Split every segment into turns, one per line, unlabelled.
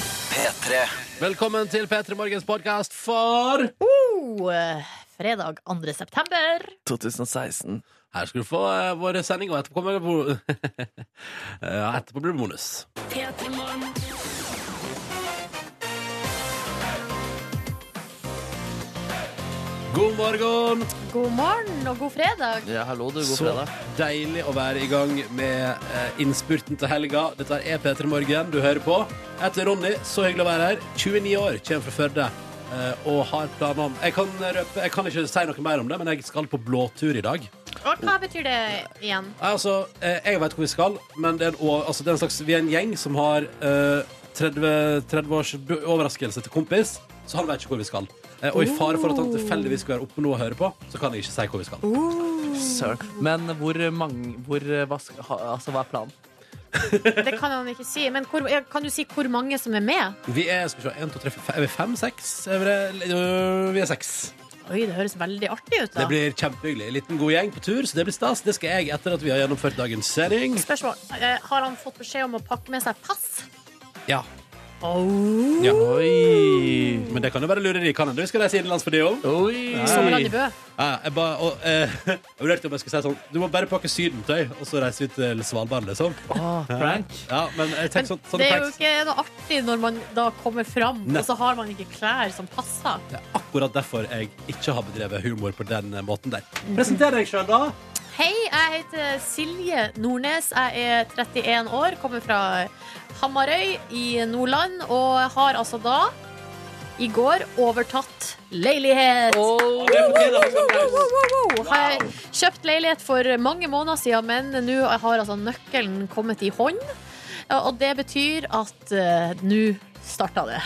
P3
Velkommen til P3 Morgens podkast for
Oh, eh, fredag 2. september.
2016.
Her skal du få eh, vår sending, og etterpå kommer det bo- Ja, etterpå blir det bonus. God morgen!
God morgen og god fredag.
Ja, hallo du, god
Så
fredag.
deilig å være i gang med eh, innspurten til helga. Dette er P3 Morgen du hører på. Jeg heter Ronny, så hyggelig å være her. 29 år, kommer fra Førde. eh, Og har planer om jeg kan, røpe, jeg kan ikke si noe mer om det, men jeg skal på blåtur i dag.
Og hva betyr det igjen?
Nei, altså, eh, jeg vet hvor vi skal, men det er en, å- altså, det er en slags, vi er en gjeng som har eh, 30, 30 års bu- overraskelse til kompis, så han vet ikke hvor vi skal. Eh, og i fare for at han tilfeldigvis skal være oppe nå og høre på, så kan jeg ikke si hvor vi skal.
Søren. Men hvor mange hvor, eh, hva, sk- ha, Altså, hva er planen?
Det kan han ikke si. Men hvor, ja, kan du si hvor mange som er med?
Vi er skal vi se, 1, 2, 3, 4, 5, 6 er vi, det? Øh, vi er 6
Oi, det høres veldig artig ut.
Det
da
blir kjempehyggelig En liten god gjeng på tur, så det blir stas Det skal jeg etter at vi har gjennomført dagens sending
Spørsmål. Eh, Har han fått beskjed om å pakke med seg pass?
Ja,
Oh.
ja.
Oi!
Men det kan jo være lureri, kan det? Vi skal reise innenlands for det også
Oi!
Sommerland i Bø.
Ja, jeg bare, og, eh, jeg vurderte om jeg skulle si sånn Du må bare pakke sydentøy, og så reise ut til Svalbard, liksom.
Åh, Ah, prank.
Ja, men jeg
Men
tenker sånn, sånn
det er jo
pranks-
ikke noe artig når man da kommer fram,
Nei.
og så har man ikke klær som passer.
Det er akkurat derfor jeg ikke har bedrevet humor på den eh, måten der.
Mm.
Presenter deg sjøl, da.
Hei, jeg heter Silje Nordnes. Jeg er 31 år, kommer fra Hamarøy i Nordland. Og har altså da, i går, overtatt leilighet.
Åh,
Det altså. fortjener faktisk applaus.
Wow. Har jeg kjøpt leilighet for mange måneder siden, men nå har altså nøkkelen kommet i hånd. Og det betyr at eh, nå starta det.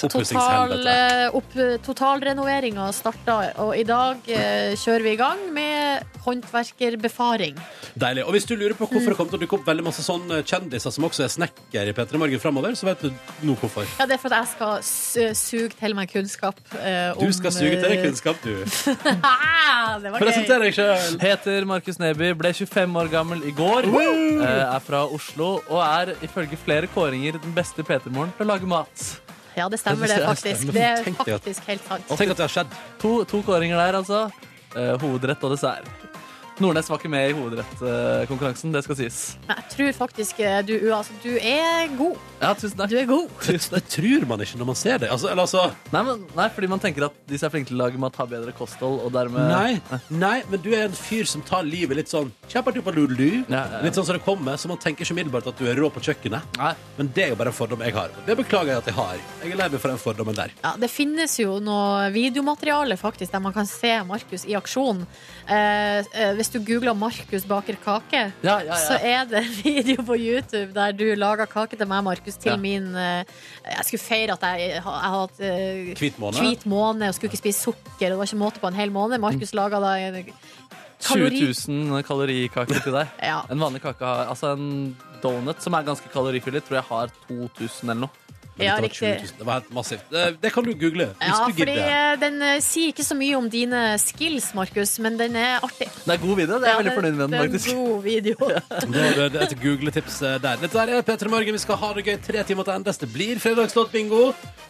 Total,
Oppussingshelvete.
eh, opp, totalrenoveringa starta, og i dag eh, kjører vi i gang med håndverkerbefaring.
Deilig. Og hvis du lurer på hvorfor det kommer til å dukke opp veldig masse sånne kjendiser som også er snekker i P3 Morgen framover, så vet du nå hvorfor.
Ja, det er for at jeg skal su- suge til meg kunnskap eh, om
Du skal suge til deg kunnskap, du.
Ah, det var gøy.
Presenter deg sjøl.
Heter Markus Neby, ble 25 år gammel i går. eh, Er fra Oslo og er ifølge flere kåringer den beste PT-moren til å lage mat.
Ja, det stemmer det, faktisk.
Stemmer.
Det er
Tenk det at-
faktisk helt sant.
Tenk at det har skjedd.
To, to kåringer der, altså. Eh, Hovedrett og dessert. Nordnes var ikke med i hovedrettkonkurransen, det skal sies.
Men jeg tror faktisk eh, du, altså, du er god.
Ja, tusen takk.
Du er god.
Det, det tror man ikke når man ser det. Altså, eller altså
Nei, men, nei, fordi man tenker at de som er flinke til å lage mat, har bedre kosthold, og dermed
Nei, nei, men du er en fyr som tar livet litt sånn kjappaduppadudelu.
Ja, ja, ja.
Litt sånn som det kommer, så man tenker ikke umiddelbart at du er rå på kjøkkenet.
Nei.
Men det er jo bare en fordom jeg har. og Det beklager jeg at jeg har. Jeg er lei meg for den fordommen der.
Ja, det finnes jo noe videomateriale faktisk der man kan se Markus i aksjon. Eh, eh, hvis du googler 'Markus baker kake',
Ja, ja,
så
ja.
er det en video på YouTube der du lager kake til meg, Markus, til
Ja.
min eh, Jeg skulle feire at jeg, jeg har hatt eh,
Hvit måned.
hvit måned og skulle ikke spise sukker, og det var ikke måte på en hel måned. Markus
Mm.
laga da en
20
kalori...
000 kalorikaker til deg.
Ja.
En vanlig kake har Altså en donut som er ganske kalorifyldig, tror jeg har 2000 eller noe.
Men
Ja,
dette var
riktig.
20 000. Det var helt massivt. Det, det kan du google hvis
Ja,
du
fordi
gidder.
eh, den eh, sier ikke så mye om dine skills, Markus, men den er artig.
Det er god video. Det er jeg
Ja,
veldig fornøyd med den,
det er en
faktisk.
god video.
Det var det- et googletips eh, der. Dette er P3 Morgen. Vi skal ha det gøy tre timer til endes. Det blir fredagslåtbingo.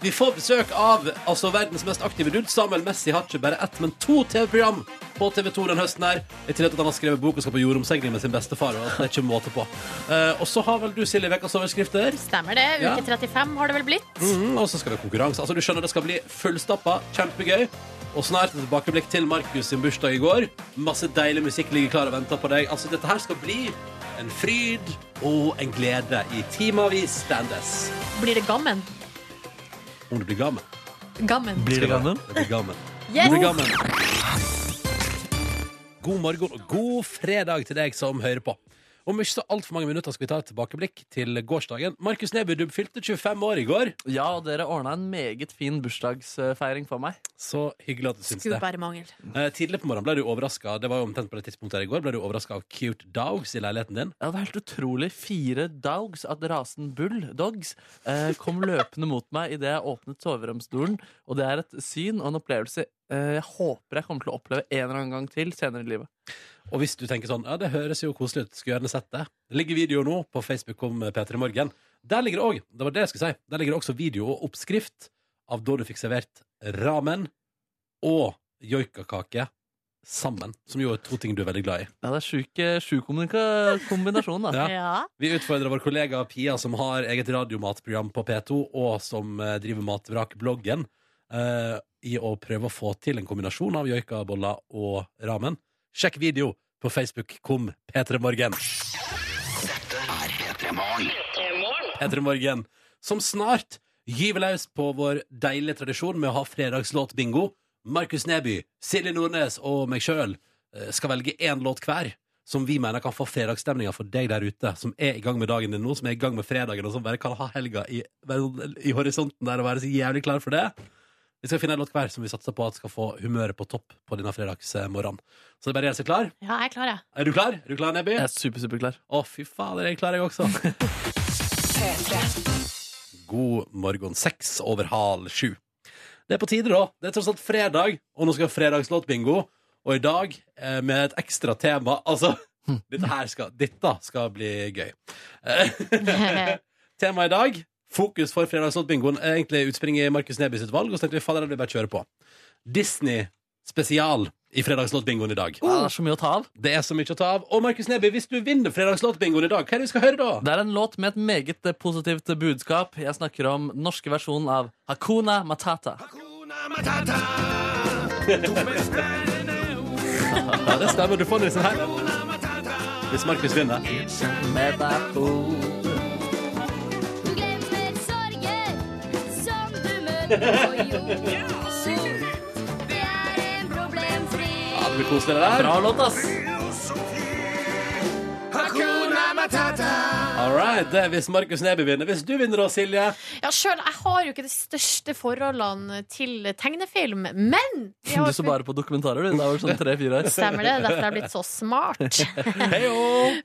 Vi får besøk av altså, verdens mest aktive dude. Samuel Messi har ikke bare ett, men to TV-program på TV2 den høsten her. I tillegg til at han har skrevet bok og skal på jordomseiling med sin bestefar. Og at det er ikke måte på. Eh, og så har vel du, Silje, ukas overskrifter.
Stemmer det.
Ja.
Uke 35 har det vel blitt.
Mm.
Mhm, og så skal det være konkurranse. Altså, du skjønner det skal bli fullstappa. Kjempegøy. Og snart et tilbakeblikk til Markus sin bursdag i går. Masse deilig musikk ligger klar og venter på deg. Altså, dette her skal bli en fryd og en glede i timevis standes.
Blir det gammen?
Om du blir gammel.
Gammen.
Blir det
Skal
gammel?
Det blir gammel.
Yes!
Du blir gammel. God morgen og god fredag til deg som hører på. Om ikke så altfor mange minutter skal vi ta et tilbakeblikk til gårsdagen. Markus Neby, du fylte 25 år i går.
Ja, og dere ordna en meget fin bursdagsfeiring for meg.
Så hyggelig at du syns
Skulle
det.
bare mangel.
Eh, tidlig på morgenen ble du overraska Det var jo omtrent på det tidspunktet her i går Ble du overraska av cute dogs i leiligheten din?
Ja, det var helt utrolig. Fire dogs av rasen bull dogs eh, kom løpende mot meg idet jeg åpnet soveromsdøren. Og det er et syn og en opplevelse eh, jeg håper jeg kommer til å oppleve en eller annen gang til senere i livet.
Og hvis du tenker sånn Ja, det høres jo koselig ut Skulle gjerne sett det Det ligger video nå på Facebook om P3 Morgen Der ligger det òg det var det jeg skulle si, der ligger det også video og oppskrift av da du fikk servert ramen og joikakake sammen. Som jo er to ting du er veldig glad i.
Ja, det er sjuk, eh, sjuk kommunika- kombinasjon, da.
Ja.
Ja.
Vi utfordrer vår kollega Pia, som har eget radiomatprogram på P2, og som eh, driver Matvrak-bloggen, eh, i å prøve å få til en kombinasjon av joikaboller og ramen. Sjekk video på Facebook kom P3morgen. P3morgen, som snart gyver løs på vår deilige tradisjon med å ha fredagslåtbingo. Markus Neby, Silje Nordnes og meg sjøl skal velge én låt hver som vi mener kan få fredagsstemninga for deg der ute, som er i gang med dagen din nå, som er i gang med fredagen, og som bare kan ha helga i, i horisonten der og være så jævlig klar for det. Vi skal finne en låt hver som vi satser på at skal få humøret på topp på denne fredagsmorgenen. Så det er bare å gjøre seg klar.
ja, jeg er klar, jeg.
Er du klar? Er du klar, Nebby?
Jeg er super, superklar.
Å, fy fader, jeg klarer jeg også. God morgen. Seks over halv sju. Det er på tide, da. Det er tross alt fredag, og nå skal fredagslåtbingo. Og i dag eh, med et ekstra tema. Altså, dette her skal, dette skal bli gøy. Eh, Temaet i dag, fokus for fredagslåtbingoen, er egentlig utspring i Markus Neby sitt valg. Og så tenkte vi fader, det blir bare å kjøre på. Disney spesial i fredagslåtbingoen i dag.
Ja, det er så mye å ta av.
Det er så mye å ta av. Og Markus Neby, hvis du vinner fredagslåtbingoen i dag, hva er det vi skal høre da?
Det er en låt med et meget eh, positivt budskap. Jeg snakker om den norske versjonen av Hakuna Matata.
Ja, det stemmer. Du får den her. Hvis Markus vinner.
Du glemmer sorger som du møter på jord. Det er en problemfri
Ja, det blir koselig, det der.
Bra låt, ass!
All right, det er hvis Markus Neby vinner. Hvis du vinner da, Silje
Ja, sjøl, jeg har jo ikke de største forholdene til tegnefilm, men jeg
Du
har
så bare på dokumentarer, du. Da var du sånn tre-fire år.
Stemmer det, derfor jeg er blitt så smart.
Heyo!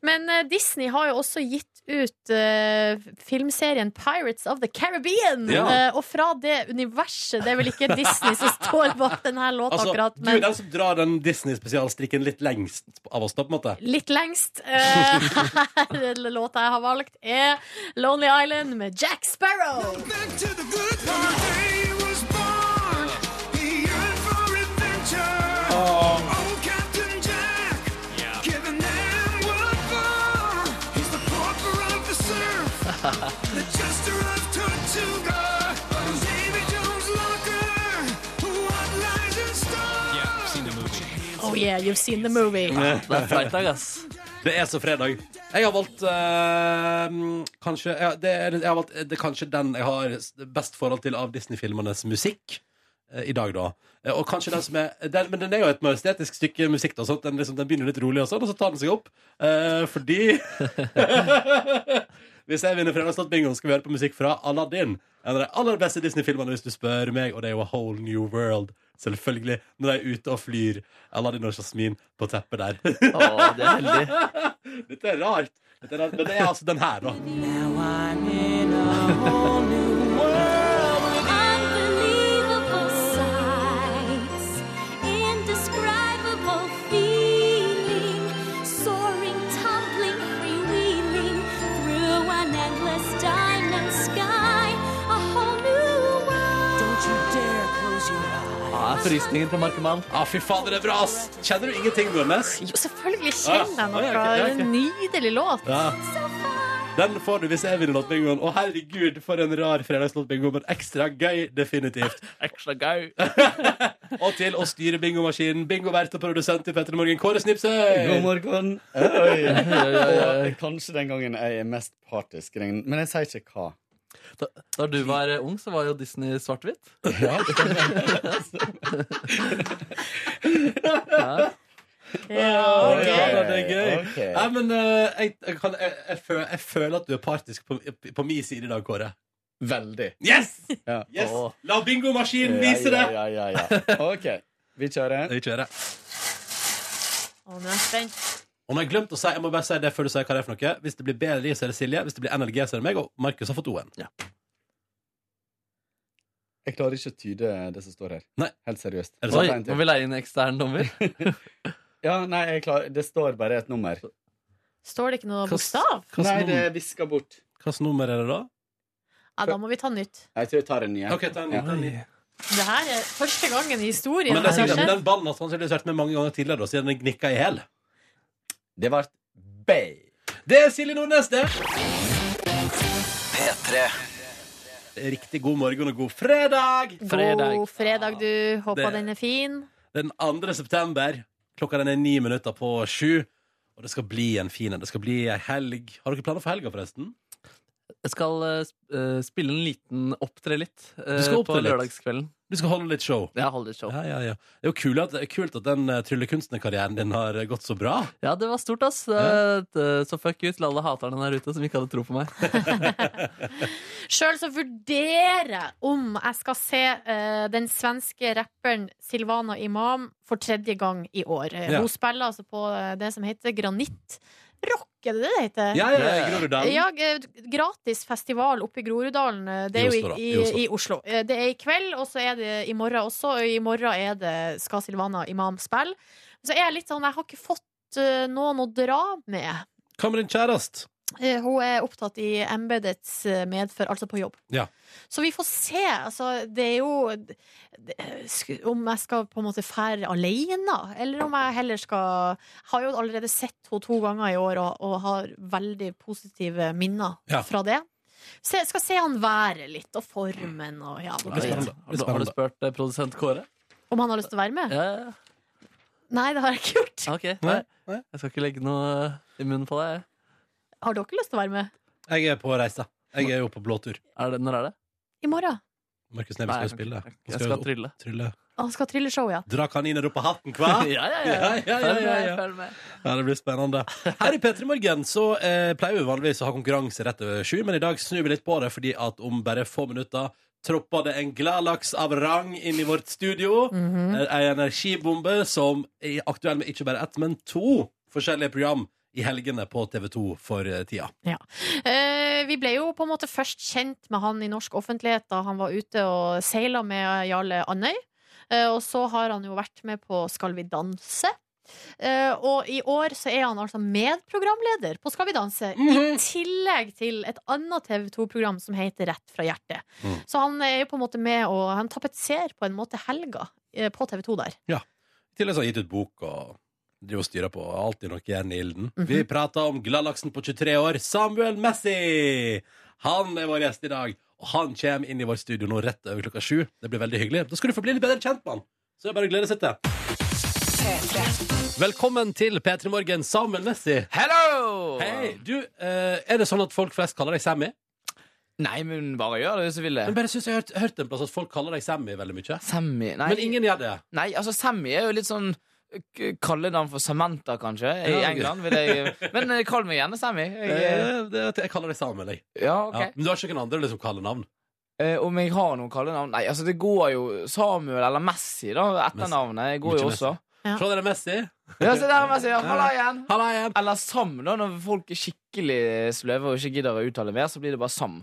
Men eh, Disney har jo også gitt ut eh, filmserien Pirates of the Caribbean.
Ja.
Eh, og fra det universet Det er vel ikke Disney som står bak denne låta
Altså,
akkurat,
du er
men
den som drar den Disney-spesialstrikken litt lengst av oss, da, på en måte.
litt lengst. Eh, her låta jeg har valgt, er Lonely Island med Jack Sparrow. Oh yeah, you've seen the movie.
Det er fredag, ass.
Det er så fredag. Jeg har valgt eh, kanskje ja, det, er, jeg har valgt, det er kanskje den jeg har best forhold til av Disney-filmenes musikk eh, i dag, da. Eh, Og kanskje den som er den, Men den er jo et majestetisk stykke musikk. Da, sånn at den, liksom, den begynner litt rolig, og sånn, og så tar den seg opp. Eh, fordi Hvis jeg vinner Fredagsnatt-bingoen, skal vi høre på musikk fra Aladdin. En av de aller beste Disney-filmene, hvis du spør meg, og det er jo A Whole New World. Selvfølgelig. Når de er ute og flyr. Aladdin og Jasmin på teppet der.
Å, de er heldige.
Dette er rart. Dette er rart. Men det er altså den her, da.
unbelievable sights, indescribable feeling, soaring, tumbling, freewheeling through an endless diamond sky, a whole new world. Don't you dare close your eyes.
Ja, frysninger på Markemann.
Ah, fy fader, det er bra, ass! Kjenner du ingenting, Nordnes?
Jo, selvfølgelig kjenner jeg
Ah,
noe.
ja, ok, ja, ok.
En nydelig låt.
Ja.
So far.
Den får du hvis jeg vinner låtbingoen. Å, herregud, for en rar fredagslåtbingo, men ekstra gøy, definitivt.
Ekstra gøy.
Og til å styre bingomaskinen, bingovert og produsent i Petter Morgen, Kåre
God
Snipsøy!
morgen. Oi.
Ja, ja, ja.
Og kanskje den gangen jeg er mest partisk. den- Men jeg sier ikke hva.
Da, da du var eh, ung, så var jo Disney svart-hvitt.
Ja,
Å,
ok.
Ja, da, det er gøy.
Ok.
Nei, men eh, jeg, jeg, kan, jeg, jeg, føler, jeg føler at du er partisk på, på min side i dag, Kåre.
Veldig.
Yes!
Ja.
yes!
Å.
La bingomaskinen vise det!
Ja, ja, ja, ja. OK, vi kjører.
Vi kjører.
Å, nå er jeg spent.
Og nå har jeg glemt å si, jeg må bare si det før du sier hva det er for noe. Hvis det blir BRI, så er det Silje. Hvis det blir NLG, så er det meg. Og Markus har fått O-en.
Jeg klarer ikke å tyde det som står her.
Nei.
Helt seriøst.
Er det
Oi,
Bare en
må
til.
vi leie inn ekstern dommer?
Ja, nei, jeg klarer. det står bare et nummer.
Står det ikke noe
Hva s-
bokstav?
hva s-
Nei, det er viska bort.
Hvilket nummer er det, da?
Ja, da må vi ta nytt.
Jeg tror jeg tar en ny. jeg.
Ok, ta en ny, ta en ny.
Det her er første gangen i historien.
Men det er
det har
sikkert,
skjedd.
den ballen har sannsynligvis vært med mange ganger tidligere, da, siden den gnikka i hjel.
Det ble Bay.
Det er Silje Nordnes, det. Riktig god morgen og god fredag.
Fredag.
God fredag, du. Håper
Det-
den er fin.
Det er den 2. september. Klokka den er ni minutter på sju. Og det skal bli en fin en. Det skal bli ei helg. Har dere planer for helga, forresten?
Jeg skal eh, sp- eh, spille en liten opptre litt eh,
Du skal opptre
på
litt?
lørdagskvelden.
Du skal holde litt show.
Jeg holder show.
Ja, ja, ja. Det er jo kult at, kult at den eh, tryllekunstnerkarrieren din har eh, gått så bra.
Ja, det var stort, ass.
Ja.
Det- det- Så fuck ut til alle haterne der ute som ikke hadde tro på meg.
Sjøl så vurderer jeg om jeg skal se eh, den svenske rapperen Silvana Imam for tredje gang i år. Eh,
Ja.
Hun spiller altså på eh, det som heter Granitt Rock, er det det det heter?
Ja, ja, ja. Groruddalen.
Ja, eh, gratis festival oppe i Groruddalen. eh, Det
I
er jo
Oslo, da.
i,
I Oslo.
i, i Oslo. Eh, Det er i kveld, og så er det i morgen også. Og i morgen er det skal Silvana Imam spille. Så er jeg litt sånn, jeg har ikke fått eh, noen å dra med.
Hva med din kjæreste?
Eh, Hun er opptatt i embedets eh, medfør, altså på jobb.
Ja.
Så vi får se. Altså, det er jo det, sku- Om jeg skal på en måte fære alene, eller om jeg heller skal Jeg har jo allerede sett henne to ganger i år og, og har veldig positive minner
Ja.
fra det. Så jeg skal se han være litt, og formen og ja,
blir
Har
spennende.
og-
du, har du spurt eh, produsent Kåre?
Om han har lyst til å være med?
Ja,
Nei, det har jeg ikke gjort.
ok.
Nei,
Nei.
nei.
Jeg skal ikke legge noe i munnen på deg.
Har dere lyst til å være med?
Jeg er på reise. Jeg er jo på blåtur.
Er det, når er det?
I morgen.
Markus Neby skal jo
jeg kan
spille.
ikke-
Han
Jeg skal
jo
trylle.
trylle.
Han skal ha trylleshow, ja.
Dra kaniner opp av hatten, hva?
Ja, ja,
Ja, ja, ja,
Følg med,
ja.
følg med.
Ja, det blir spennende. Her i P3 Morgen så eh, pleier vi vanligvis å ha konkurranse rett over sju, men i dag snur vi litt på det, fordi at om bare få minutter tropper det en gladlaks av rang inn i vårt studio. Eh, Ei energibombe som er aktuell med ikke bare ett, men to forskjellige program i helgene på TV2 for eh, tida.
Eh, vi ble jo på en måte først kjent med han i norsk offentlighet da han var ute og seila med Jarle Andøy. Eh, og så har han jo vært med på Skal vi danse. Eh, og i år så er han altså medprogramleder på Skal vi danse, i tillegg til et annet TV 2-program som heter Rett fra hjertet.
Mhm.
Så han er jo på en måte med og han tapetserer på en måte helga eh, på TV 2 der.
I tillegg så har jeg gitt ut bok og driver og styrer på alltid noe jern i ilden. Vi prater om gladlaksen på 23 år, Samuel Messi! Han er vår gjest i dag, og han kommer inn i vårt studio nå rett over klokka sju. Det blir veldig hyggelig. Da skal du få bli litt bedre kjent med han. Så det er bare å glede seg til. Velkommen til P3 Morgen, Samuel Messi.
Hello!
Hei, du, eh, er det sånn at folk flest kaller deg Sammy?
Nei, men bare gjør det hvis du vil det.
Men bare synes jeg har hørt, hørt en plass at folk kaller deg Sammy veldig mye.
Sammy nei,
Men ingen gjør det.
nei, altså Sammy er jo litt sånn k- Kallenavn for Samantha, kanskje, i
Ja, ok.
England. Vil jeg, men eh, kall meg gjerne Sammy. Jeg,
Eh, det, jeg kaller deg Samuel, jeg.
ja, ok
Ja. Men du har ikke noen andre liksom kaller navn?
Eh, Om jeg har noen kallenavn Nei, altså det går jo Samuel eller Messi, da. Etternavnet går jo
Mye
også.
Ja.
Se dere Messi. Eh.
Ja, se der, Messi. Ja, Halla igjen.
Halla igjen.
Eller Sam, da. Når folk er skikkelig sløve og ikke gidder å uttale mer, så blir det bare Sam.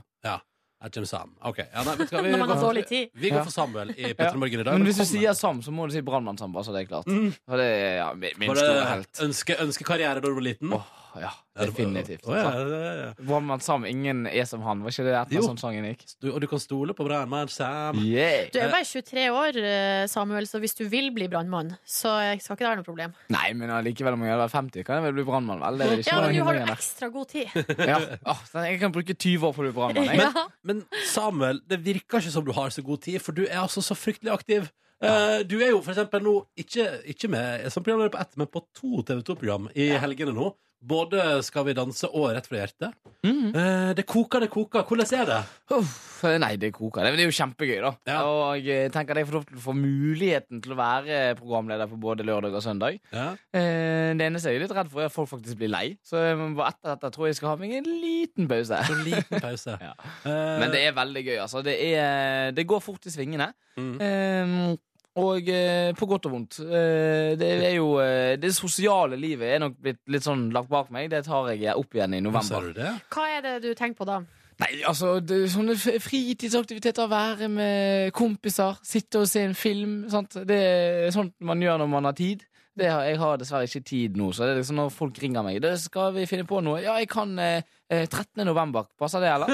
Her kommer Sam. Ok. Ja, nei, vet du hva, vi,
Når man har
går for,
dårlig tid.
vi går
Ja.
for Samuel i Petter Morgen i dag.
Men hvis du
Velkommen.
sier Sam, så må du si Brannmann-Sam, bare så det er klart.
Mm.
For det er ja, min, min
Var det
store helt.
ønske, ønskekarriere da du var liten?
Åh, ja, definitivt.
Å, ja, ja, ja.
Brannmann Sam, ingen er som han. Var ikke det etter
Jo.
sånn sangen gikk?
Du, og du kan stole på brannmann Sam.
Yeah.
Du er jo bare 23 år, eh, Samuel, så hvis du vil bli brannmann, så eh, skal ikke det være noe problem.
Nei, men allikevel om jeg hadde vært 50, kan jeg vel bli brannmann, vel? Det er ikke
Ja,
noe
men nå har du
hindringer.
ekstra god tid.
ja. Åh, sånn, Jeg kan bruke 20 år på å bli brannmann. jeg.
Ja.
Men Samuel, det virker ikke som du har så god tid, for du er altså så fryktelig aktiv. Eh, du er jo for eksempel nå ikke, ikke med som programleder på ett, men på to TV2-program i helgene nå. Både Skal vi danse og Rett fra hjertet.
Mhm.
Eh, det koker, det koker. Hvordan er det?
Uff, nei, det koker. Det, men det er jo kjempegøy, da.
Ja.
Og jeg tenker at jeg får lov til å få muligheten til å være programleder på både lørdag og søndag.
Ja.
Eh, Det eneste jeg er litt redd for, er at folk faktisk blir lei. Så jeg må bare etter dette tror jeg jeg skal ha meg en liten pause.
Så liten pause.
Ja.
Eh,
Men det er veldig gøy, altså. Det, er, det går fort i svingene.
Mhm.
Eh, og eh, på godt og vondt. Eh, det er jo eh, Det sosiale livet er nok blitt litt sånn lagt bak meg. Det tar jeg opp igjen i
Ser
november.
du det?
Hva er det du tenker på da?
Nei, altså det, er Sånne f- fritidsaktiviteter, være med kompiser, sitte og se en film. Sant? Det er sånt man gjør når man har tid. Det har, jeg har dessverre ikke tid nå, så det er liksom når folk ringer meg det 'Skal vi finne på noe?' 'Ja, jeg kan eh, eh, 13. november. Passer det, eller?'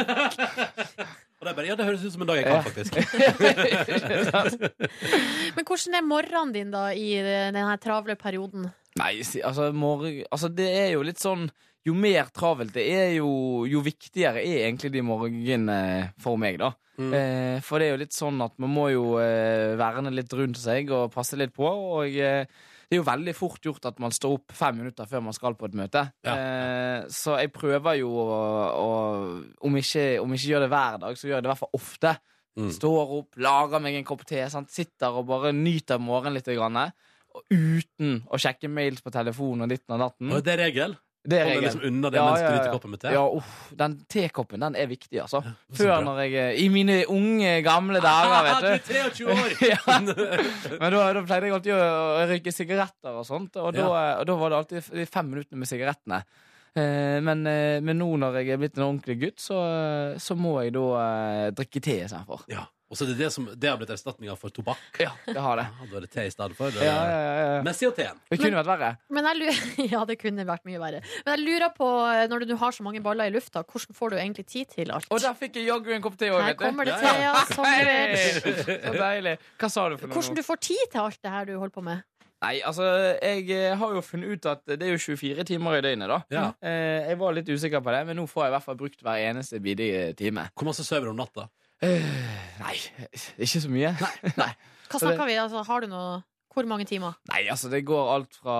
Og det er bare, ja, det høres ut som en dag jeg kan,
Ja.
faktisk.
Men hvordan er morgenen din da i denne travle perioden?
Nei, si- altså, morgen, altså det er jo litt sånn Jo mer travelt det er, jo, jo viktigere er egentlig de morgenene for meg, da.
Mm.
Eh, for det er jo litt sånn at man må jo eh, verne litt rundt seg og passe litt på. Og eh, det er jo veldig fort gjort at man står opp fem minutter før man skal på et møte.
Ja.
Eh, så jeg prøver jo å, å om, ikke, om ikke gjør det hver dag, så gjør jeg det i hvert fall ofte.
Mm.
Står opp, lager meg en kopp te, sant? sitter og bare nyter morgenen litt. Grann, og uten å sjekke mails på telefonen og ditten og datten.
Og det er regel.
Det er
Holder
regelen.
liksom unna det
Ja,
mens
ja,
du
ja.
nyter koppen med te.
Ja, uff, den tekoppen den er viktig, altså.
så
Før
bra.
når jeg eh, I mine unge, gamle dager,
Ah,
vet du.
er 23 år!
Ja. Men da, da pleide jeg alltid å å røyke sigaretter og sånt, og da, eh, og da var det alltid de fem minuttene med sigarettene. Eh, Men, eh, men nå når jeg er blitt en ordentlig gutt, så, så må jeg da eh, drikke te istedenfor.
Ja. Og så er det det som det har blitt erstatninga for tobakk.
Ja, det har det.
Ja, da er det te i stedet for.
Ja, ja, ja, ja.
Messi og teen.
Det kunne vært verre.
Men jeg lurer, ja, det kunne vært mye verre. Men jeg lurer på, eh, når du nå har så mange baller i lufta, hvordan får du egentlig tid til alt?
Og der fikk jeg jaggu en kopp te òg,
Her
vet du.
kommer det
Ja, ja.
Thea som
Hei!
du
Så deilig. Hva sa du for noe?
Hvordan du får tid til alt det her du holder på med?
Nei, altså, jeg eh, har jo funnet ut at det er jo 24 timer i døgnet, da.
Ja.
Eh, jeg var litt usikker på det, men nå får jeg i hvert fall brukt hver eneste bidige time.
Hvor masse sover du om natta?
Eh, nei, ikke så mye. Nei. nei.
Hva snakker vi? Altså, har du noe Hvor mange timer?
altså, det går alt fra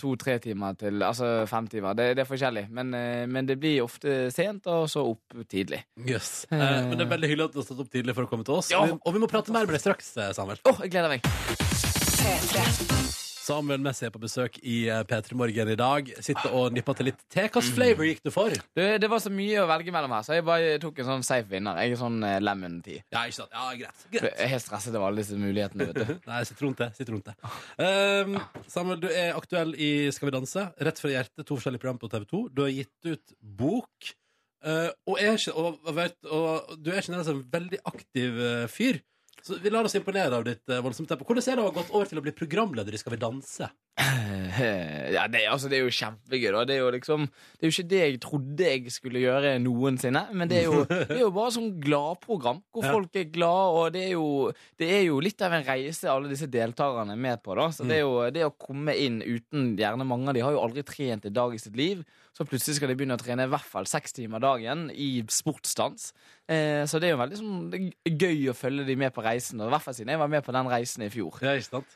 to-tre timer til altså fem timer. Det, det er forskjellig, men, eh, men det blir ofte sent, og så opp tidlig.
Jøss. Eh, men det er veldig hyggelig at du har stått opp tidlig for å komme til oss.
Ja.
Og vi- Og vi må prate mer med deg straks, eh, Samuel.
Åh, jeg gleder meg!
Samuel Messi er på besøk i eh, P3 Morgen i dag. Sitter og nipper til litt te. Hvilken flavor gikk du for?
Det, det var så mye å velge mellom her, så jeg bare tok en sånn safe vinner. Jeg er sånn eh, lemon tea.
Ja, ikke sant. Ja, greit.
Jeg
greit.
er helt stresset over alle disse mulighetene, vet du.
Nei, sitronte. Sitronte. Um, Samuel, du er aktuell i Skal vi danse? Rett fra hjertet, to forskjellige program på TV2. Du har gitt ut bok. eh, og, er, ikke- og, og vet, og du er generelt en veldig aktiv eh, fyr. Så vi lar oss imponere av ditt eh, voldsomme tempo. Hvordan er det å ha gått over til å bli programleder i Skal vi danse?
Eh, Ja, det, altså, det er jo kjempegøy, da. Det er jo liksom Det er jo ikke det jeg trodde jeg skulle gjøre noensinne. Men det er jo, det er jo bare sånn gladprogram hvor
Ja.
folk er glade, og det er, jo, det er jo litt av en reise alle disse deltakerne er med på, da. Så det er jo det å komme inn uten Gjerne mange av de har jo aldri trent en dag i sitt liv. Så plutselig skal de begynne å trene i hvert fall seks timer dagen i sportsdans. Eh, så det er jo veldig sånn, det er gøy å følge de med på reisen, og i hvert fall siden jeg var med på den reisen i fjor.
Ja, ikke sant?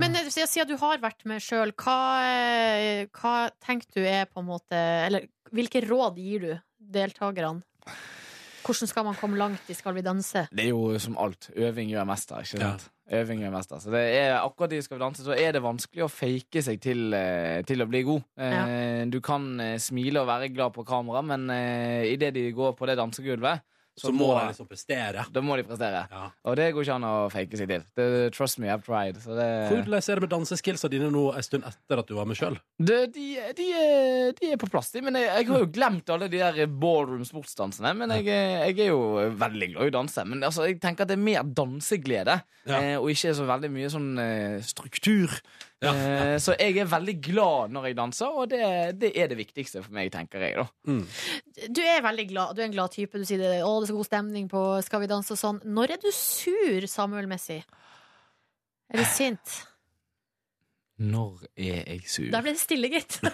Men eh, siden siden du har vært med sjøl, hva, eh, hva tenker du er på en måte Eller hvilke råd gir du deltakerne? Hvordan skal man komme langt i Skal vi danse?
Det er jo som alt. Øving gjør mester, ikke sant? Øving gjør mester. Så det er, akkurat i Skal vi danse så er det vanskelig å fake seg til, eh, til å bli god. Eh, Du kan eh, smile og være glad på kamera, men eh, idet de går på det dansegulvet,
Så må de liksom prestere.
da må de prestere.
Ja.
Og det går ikke an å fake seg til. Det, trust me, I've tried. Så det,
Hvordan er det med danseskillsa dine nå en stund etter at du var med sjøl?
det, de, de, er- de er på plass, de. Men jeg, jeg har jo glemt alle de der ballroom-sportsdansene. Men jeg, er- jeg er jo veldig glad i å danse. Men altså, jeg tenker at det er mer danseglede.
Ja.
eh, og ikke så veldig mye sånn eh, struktur.
Ja.
Eh, så jeg er veldig glad når jeg danser, og det, det er det viktigste for meg, tenker jeg. da
Du er veldig glad, du er en glad type. Du sier det, å, det er så god stemning på Skal vi danse og sånn. Når er du sur, Samuel Messi? Eller sint?
Når er jeg sur?
Der ble det stille, gitt.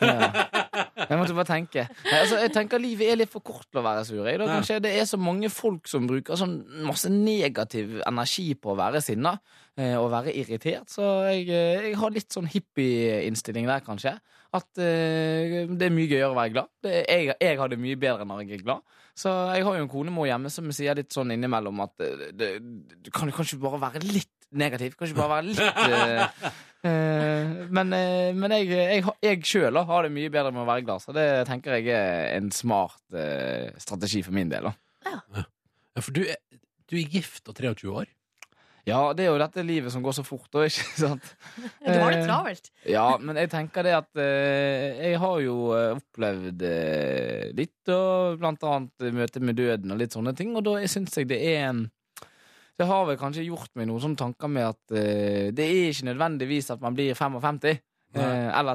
Ja. Jeg måtte bare tenke. Nei, altså, jeg tenker Livet er litt for kort til å være sur. Jeg. Da,
Ja.
kanskje det er så mange folk som bruker sånn masse negativ energi på å være sinna eh, og være irritert, så jeg, eh, jeg har litt sånn hippieinnstilling der, kanskje. At eh, det er mye gøyere å være glad. Det, jeg, jeg har det mye bedre når jeg er glad. Så jeg har jo en konemor hjemme som sier litt sånn innimellom at eh, det, du kan jo kanskje bare være litt negativ. Kanskje bare være litt eh, Eh, men eh, men jeg, jeg, har- jeg sjøl har det mye bedre med å være glad, så det tenker jeg er en smart eh, strategi for min del. Da.
Ja, for du er, du er gift og 23 år.
Ja, det er jo dette livet som går så fort, og ikke sant?
Du har det travelt.
Ja, men jeg tenker det at eh, jeg har jo eh, opplevd eh, litt, og blant annet eh, møte med døden og litt sånne ting, og da syns jeg det er en det har vel kanskje gjort meg noen sånne tanker med at eh, det er ikke nødvendigvis at man blir 55. Eh, eller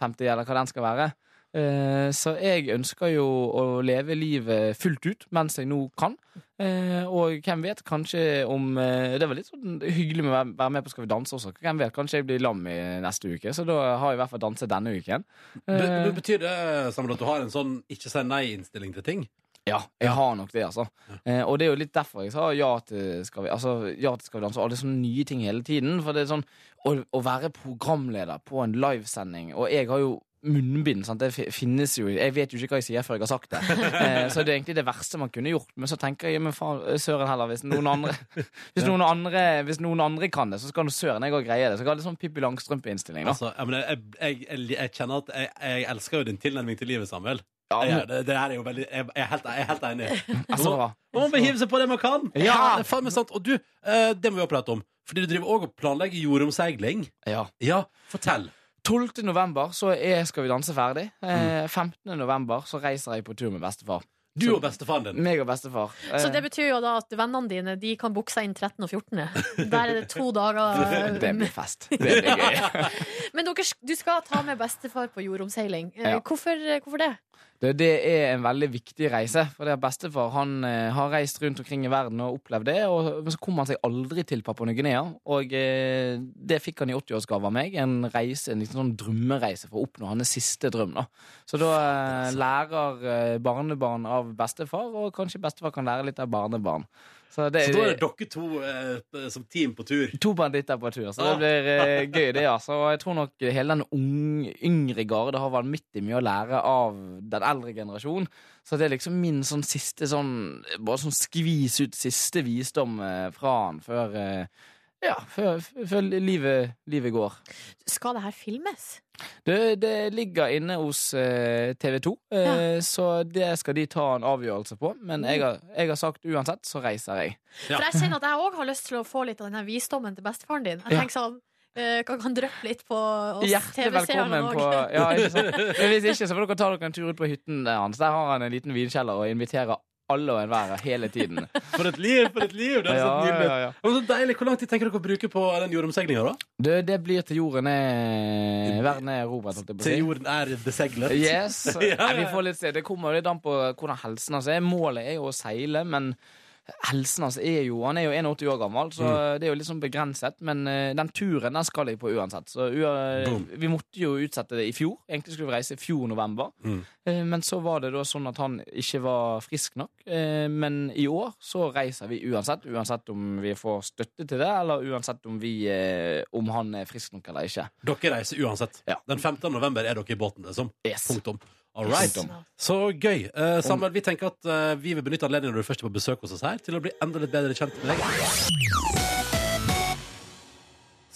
56, eller hva den skal være. Eh, så jeg ønsker jo å leve livet fullt ut mens jeg nå kan. Eh, og hvem vet, kanskje om eh, Det var litt sånn hyggelig med å være- være med på Skal vi danse også. Hvem vet, kanskje jeg blir lam i neste uke, så da har jeg i hvert fall danset denne uken.
Du,
Eh,
du betyr det, Samuel, at du har en sånn ikke-si-nei-innstilling til ting?
Ja, jeg har nok det, altså. Eh, og det er jo litt derfor jeg sa ja til Skal vi, altså, ja til skal vi danse. Og det er sånne nye ting hele tiden. For det er sånn å, å være programleder på en livesending, og jeg har jo Munnbind. sant? Det fi- finnes jo Jeg vet jo ikke hva jeg sier før jeg har sagt det. Eh, så det er egentlig det verste man kunne gjort. Men så tenker jeg men faen, eh, søren heller, hvis noen andre Hvis noen andre, hvis noen andre kan det, så skal nå søren jeg òg greie det. Så jeg har litt sånn Pippi Langstrømpe-innstilling. da.
Altså, jeg, mener, jeg, jeg, jeg, jeg kjenner at jeg, jeg elsker jo din tilnærming til livet, Samuel.
Ja,
Jeg,
men-
gjør det, det her er jo veldig, jeg, jeg, er helt, jeg er helt enig.
altså, det var-
Man må bare hive seg på det man kan!
Ja!
det er faen meg sant. Og du, eh, det må vi også prate om. Fordi du driver òg og planlegger jordomseiling.
ja.
Ja, fortell.
12. november så er Skal vi danse ferdig. Eh, 15. november så reiser jeg på tur med bestefar.
Du og bestefaren din.
Meg og bestefar. Eh,
Så det betyr jo da at vennene dine De kan booke seg inn 13. og 14. Der er det to dager. eh,
det blir fest. Det blir gøy.
Men dere, du skal ta med bestefar på jordomseiling. Eh,
Ja.
Hvorfor, hvorfor det?
Det, det er en veldig viktig reise. For det er bestefar han eh, har reist rundt omkring i verden og opplevd det. Og, men så kom han seg aldri til Papua Ny-Guinea. Og eh, det fikk han i 80-årsgave av meg. En reise, en liten sånn drømmereise for å oppnå hans siste drøm. da Så da eh,
altså.
lærer eh, barnebarn av bestefar, og kanskje bestefar kan lære litt av barnebarn. Så det,
Så da er det dere to eh, som team på tur.
To banditter på tur, så
Ah.
det blir eh, gøy, det. altså Og jeg tror nok hele den ung, yngre garde har vanvittig mye å lære av den eldre generasjonen. Så det er liksom min sånn siste sånn Bare sånn skvis ut siste visdom eh, fra han før eh, Ja, før, før livet, livet går.
Skal det her filmes?
Det, det ligger inne hos eh, TV 2, eh, så det skal de ta en avgjørelse på. Men jeg har, jeg har sagt uansett, så reiser jeg.
Ja.
For jeg kjenner at jeg òg har lyst til å få litt av denne visdommen til bestefaren din. Jeg
Ja.
tenker sånn eh, kan, kan dryppe litt på oss
Hjertelig
TV-seerne
velkommen
òg.
på ja, ikke sant? Men Hvis ikke, så får dere ta dere en tur ut på hytten hans. Der har han en liten vinkjeller og inviterer alle og enhver hele tiden.
For et liv, for et liv! Det er så
Ja,
nydelig.
ja, ja.
Men Så deilig. Hvor lang tid tenker dere å bruke på den jordomseilinga, da?
Det, det blir til jorden er Verden er erobret, holdt jeg på å
Til
si.
jorden er beseglet?
Yes.
Ja, ja.
Nei, vi får litt se. Det kommer jo litt an på hvordan helsen hans er. Målet er jo å seile, men helsen hans er jo Han er jo 81 år gammel, så
Mm.
det er jo litt sånn begrenset. Men eh, den turen den skal jeg på uansett. Så ua-
Boom.
vi måtte jo utsette det i fjor. Egentlig skulle vi reise i fjor november.
Mm.
Eh, Men så var det da sånn at han ikke var frisk nok. Eh, Men i år så reiser vi uansett. Uansett om vi får støtte til det, eller uansett om, vi, eh, om han er frisk nok eller ikke.
Dere reiser uansett.
Ja.
Den 15. november er dere i båten. Liksom.
Yes.
Punktum. All right.
Punktum.
Så gøy. Eh, Samuel, vi tenker at eh, vi vil benytte anledningen når du først er på besøk hos oss her, til å bli enda litt bedre kjent med deg.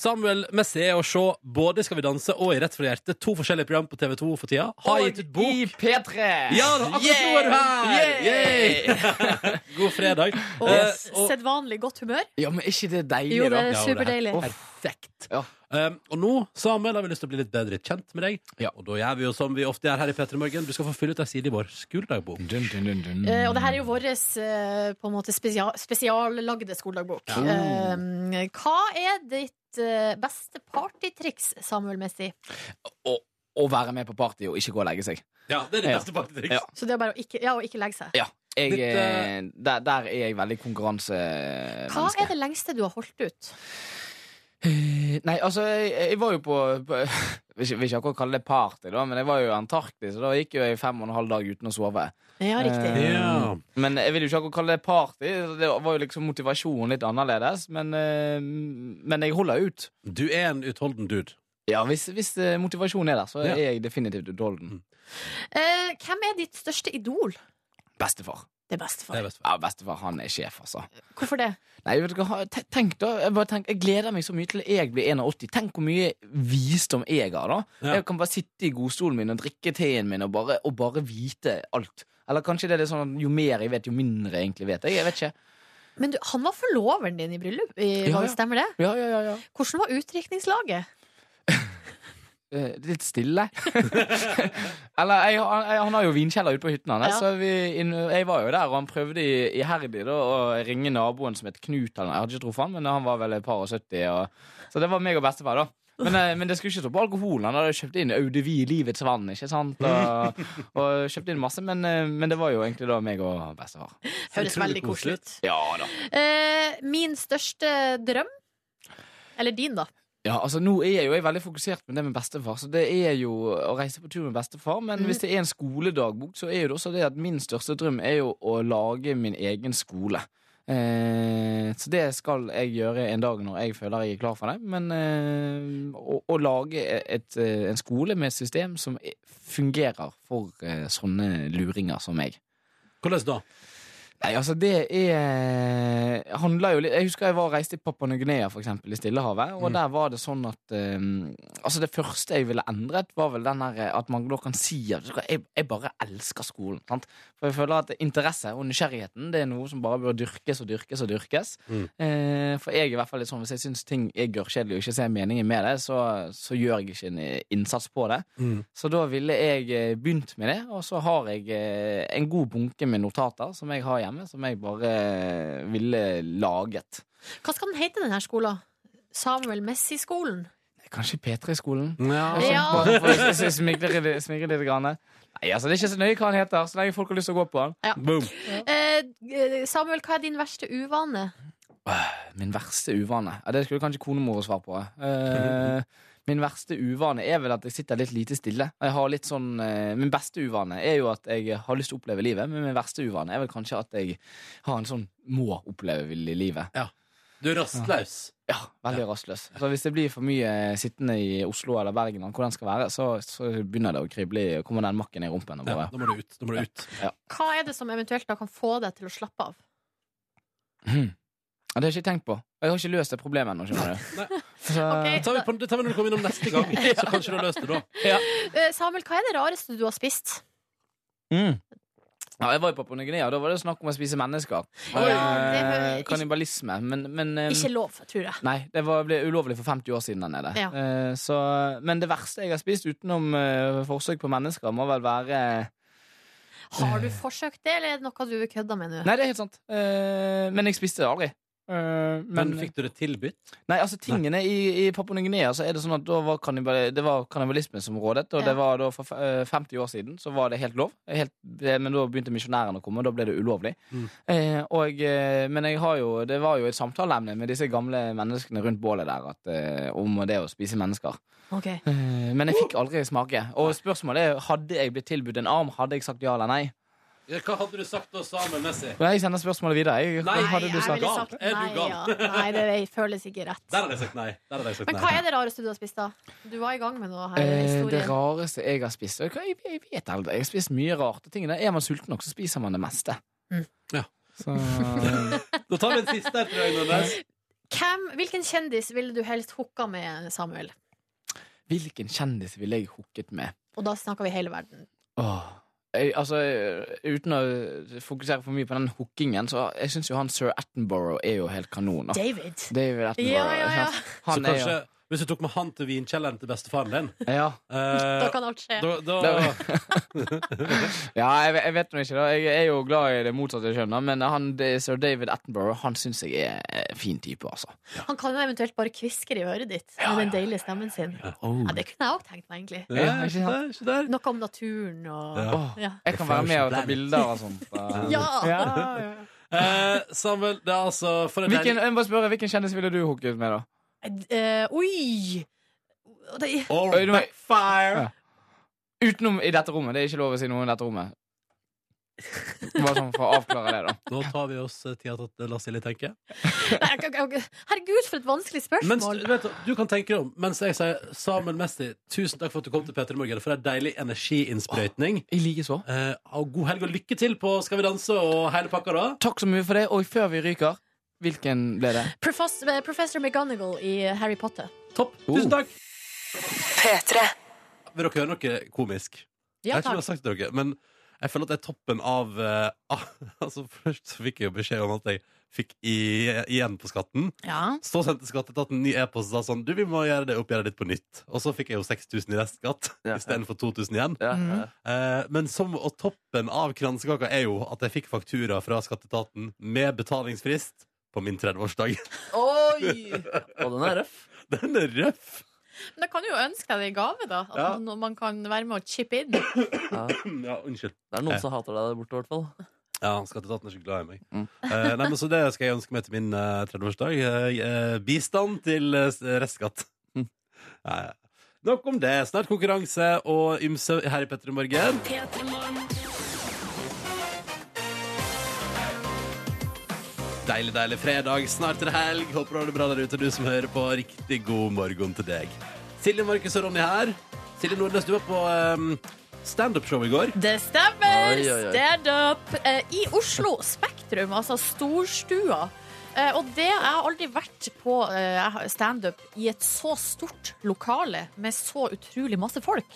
Samuel Messi er å se både i Skal vi danse og i Rett fra hjertet, to forskjellige program på TV2 for tida. Har gitt ut bok.
I P3!
Ja, da, akkurat nå er du her!
Yeah!
God fredag.
Og
Eh,
s- sedvanlig godt humør.
Ja, men er ikke det deilig,
Jo, det
da?
er
Ja, det er
superdeilig.
Uff.
Perfekt.
Ja.
Um, og nå, Samuel, har vi lyst til å bli litt bedre kjent med deg.
Ja.
Og da gjør vi jo som vi ofte gjør her i P3 Morgen. Du skal få fylle ut ei side i vår skoledagbok.
Dun, dun, dun, dun.
Eh, og det her er jo vår eh, på en måte spesia- spesiallagde skoledagbok. Eh, hva er ditt eh, beste partytriks, Samuel Messi?
Å- Å være med på party og ikke gå og legge seg.
Ja, det er det
Ja.
beste partytriks.
Ja.
Så det er bare å ikke, ja, å ikke legge seg.
Ja. Jeg,
Litt, eh,
eh, der, der er jeg veldig
Hva
konkurransemenneske.
er det lengste du har holdt ut?
Eh, Nei, altså, jeg, jeg var jo på, på Vil ikke- vil ikke akkurat kalle det party, da, men jeg var jo i Antarktis, og da gikk jo jeg fem og en halv dag uten å sove.
Ja, riktig.
Eh,
Ja.
Men jeg vil jo ikke akkurat kalle det party. Det var jo liksom motivasjonen litt annerledes, men, eh, men jeg holder ut.
Du er en utholden dude.
Ja, hvis, hvis eh, motivasjonen er der, så
Ja.
er jeg definitivt utholden.
Eh, hvem er ditt største idol?
Bestefar.
Det er
Det er
bestefar.
best.
Ja, bestefar, han er sjef, altså.
Hvorfor det?
Nei, vet du hva, ha- te- tenk da jeg, bare tenk, jeg gleder meg så mye til jeg blir 81 Tenk hvor mye visdom jeg har da
Ja.
Jeg kan bare sitte i godstolen min og drikke teen min og bare, og bare vite alt Eller kanskje det er litt sånn at jo mer jeg vet, jo mindre jeg egentlig vet Jeg, jeg vet ikke
Men du, han var forloveren din i bryllup, i,
Ja, ja.
stemmer det?
Ja, ja, ja, ja
Hvordan var utdrikningslaget?
Eh, Litt stille Eller, jeg, han, jeg, han har jo vinkjeller ute på hytten han eh,
Ja.
Så vi, inn- jeg var jo der, og han prøvde i, i herdig da Å ringe naboen som het Knut eller noe. Jeg hadde ikke truffet han, men han var vel et par og 70 og, Så det var meg og bestefar da Men, eh, men det skulle ikke stå på alkoholen. Han hadde kjøpt inn Audevie Livets vann. ikke sant? Og, og kjøpt inn masse, men, eh, men det var jo egentlig da meg og bestefar.
Høres
Utrolig
veldig koselig ut.
Ja da.
Eh, min største drøm? Eller din, da.
Ja, altså Nå er jeg jo jeg er veldig fokusert med det med bestefar, så det er jo å reise på tur med bestefar. Men hvis det er en skoledagbok, så er jo det også det at min største drøm er jo å lage min egen skole. Eh, så det skal jeg gjøre en dag når jeg føler jeg er klar for det. Men eh, å, å lage et, eh, en skole med et system som i- fungerer for eh, sånne luringer som meg.
Hvordan da?
Nei, altså det er handler jo litt Jeg husker jeg var og reiste i Papua Ny-Guinea, for eksempel, i Stillehavet. Og der var det sånn at ehm, Altså, det første jeg ville endret, var vel den der at man da kan si at vet du hva, jeg, jeg bare elsker skolen. sant? For jeg føler at interesse og nysgjerrigheten det er noe som bare bør dyrkes og dyrkes og dyrkes.
Mm.
Eh, for jeg er i hvert fall litt sånn hvis jeg syns ting er gørrkjedelig og ikke ser meningen med det, så, så gjør jeg ikke en eh, innsats på det. Så da ville jeg eh, begynt med det, og så har jeg eh, en god bunke med notater som jeg har hjemme, som jeg bare eh, ville laget.
Hva skal den hete, denne skolen? Samuel Messi-skolen?
Kanskje P3-skolen? Altså,
Ja.
Ja.
Bare for å s- s- smigre litt- smigre litt. Grann. Nei, altså, det er ikke så nøye hva han heter, så lenge folk har lyst til å gå på han.
Boom.
Eh, eh, Samuel, hva er din verste uvane?
Min verste uvane? Ja, det skulle kanskje konemor svare på. Eh, min verste uvane er vel at jeg sitter litt lite stille. Jeg har litt sånn, eh, min beste uvane er jo at jeg har lyst til å oppleve livet, men min verste uvane er vel kanskje at jeg har en sånn må oppleve livet.
Du er rastløs.
Ja, veldig rastløs. Så hvis det blir for mye eh, sittende i Oslo eller Bergen, eller hvor den skal være, så, så begynner det å krible i kommer den makken i rumpen. Og
Ja,
bare,
da må du ut. Da må du ut.
Hva er det som eventuelt da kan få deg til å slappe av?
Mhm. Ja, Det har jeg ikke tenkt på. Og Jeg har ikke løst det problemet ennå, skjønner du. Så,
Det Eh, tar vi, på, det tar vi når du kommer innom neste gang, så kanskje du har løst det da.
Eh, Samuel, hva er det rareste du har spist?
Mm. Ja, jeg var i Papua Ny-Guinea, og da var det snakk om å spise mennesker.
Ja, det
Eh,
hø-
Kannibalisme. Men, men eh,
Ikke lov, tror jeg.
Nei, det var, ble ulovlig for 50 år siden der nede.
Ja.
Eh, så, men det verste jeg har spist utenom eh, forsøk på mennesker, må vel være
Har du
Eh.
forsøkt det, eller er det noe du kødder med nå?
Nei, det er helt sant. Eh, men jeg spiste det aldri. Eh,
Men fikk du det tilbudt?
Nei, altså tingene i, i Papua Ny-Guinea så er det sånn at da var kannibal, det var kannibalisme som rådet, og
Ja.
det var da for f- eh, 50 år siden så var det helt lov. Helt, eh, men da begynte misjonærene å komme, og da ble det ulovlig.
Mm.
Eh, og, eh, men jeg har jo, det var jo et samtaleemne med disse gamle menneskene rundt bålet der at, eh, om det å spise mennesker.
Ok.
Eh, men jeg fikk aldri smake. Og spørsmålet er, hadde jeg blitt tilbudt en arm, hadde jeg sagt ja eller nei?
Ja, Hva hadde du sagt da, Samuel Messi?
Men jeg sender spørsmålet videre. Jeg,
Nei,
hva hadde du
jeg
sagt?
ville
Gal?
sagt
Er du
nei,
gal?
ja. Nei, det føles ikke rett.
Der hadde jeg sagt nei. Der hadde jeg sagt
Men hva
nei.
er det rareste du har spist, da? Du var i gang med noe her. i
Eh, det
historien.
rareste jeg har spist jeg, jeg, jeg vet aldri. Jeg har spist mye rart. og ting der. Er man sulten nok, så spiser man det meste.
Mm.
Ja.
Så
Da tar vi en siste her, tror jeg. Nordnes.
Hvem, hvilken kjendis ville du helst hooka med, Samuel?
hvilken kjendis ville jeg hooket med?
Og da snakker vi hele verden.
Åh. Jeg, altså, eh, Uten å fokusere for mye på den hookingen, så jeg syns jo han sir Attenborough er jo helt kanon. da.
David.
David
Ja,
Attenborough.
ja,
ikke
ja.
sant?
Så
Han er
kanskje, hvis du tok med han til vinkjelleren til bestefaren din
jo ja.
eh,
Da kan alt skje.
da, da,
Da- Ja, jeg, ve- jeg vet nå ikke. da Jeg er jo glad i det motsatte kjønn, da, men han, det- sir David Attenborough Han syns jeg er en fin type, altså.
Han kan jo eventuelt bare kviskre i øret ditt med den deilige stemmen sin. Ja, Det kunne jeg òg tenkt meg, egentlig.
Oh. Ja,
Ja,
ikke der, ikke der.
Noe om naturen og
Ja.
Åh,
Ja.
Jeg kan være med og ta bilder og sånt. da.
Ja!
Eh, Samuel, det er altså for en
Hvilken, jeg må spørre, hvilken kjendis ville du hooket med, da?
Eh, oi! Det-
Or
Oi, nå-
backfire!
Utenom i dette rommet. Det er ikke lov å si noe om dette rommet. Bare sånn for å avklare det, da.
Nå tar vi oss eh, tida til at Lasse Lille tenker.
Nei, jeg- jeg- jeg- Herregud, for et vanskelig
Mens,
spørsmål.
vet du, du kan tenke deg om Mens jeg sier Samuel Messi, tusen takk for at du kom til Peter i Morgen. For en deilig energiinnsprøytning.
I like så.
Eh, og god helg og lykke til på Skal vi danse og hele pakka, da.
Takk så mye for det. Og før vi ryker, hvilken ble det?
Professor, eh, Professor McGonagall i eh, Harry Potter.
Topp.
Oh.
Tusen takk. Vil dere høre noe komisk? jeg
Ja,
vet ikke om jeg
takk.
har sagt det til dere, men jeg føler at det er toppen av eh, ah, Altså Først så fikk jeg jo beskjed om at jeg fikk i, igjen på skatten.
Ja.
Så sendte Skatteetaten en ny e-post og sa sånn Du, vi må gjøre det oppgjøret ditt på nytt. Og så fikk jeg jo 6000 i restskatt
Ja, ja.
istedenfor 2000 igjen.
Ja, ja.
Eh, men som, og toppen av kransekaka er jo at jeg fikk faktura fra Skatteetaten med betalingsfrist på min 30-årsdag.
Og den er røff.
Den er røff!
Men da kan du jo ønske deg det i gave, da. At
Ja.
man, man kan være med og chippe inn.
Ja, unnskyld.
Det er noen som hater deg der borte, i hvert fall.
Ja, Skatteetaten er ikke glad i meg.
Mm.
Eh, nei, men Så det skal jeg ønske meg til min eh, 30-årsdag. Eh, eh, bistand til eh, restskatt. Mm. Ja, ja. Nok om det. Snart konkurranse og ymse her i Petter i morgen. Deilig, deilig fredag. Snart er det helg. Håper du har det bra der ute, du som hører på. Riktig god morgen til deg. Silje Markus og Ronny her. Silje Nordnes, du var på eh, standup-show i går.
Det stemmer!
Oi, oi, oi.
Stand up! Eh, I Oslo Spektrum, altså Storstua. Eh, og det, jeg har aldri vært på eh, standup i et så stort lokale med så utrolig masse folk.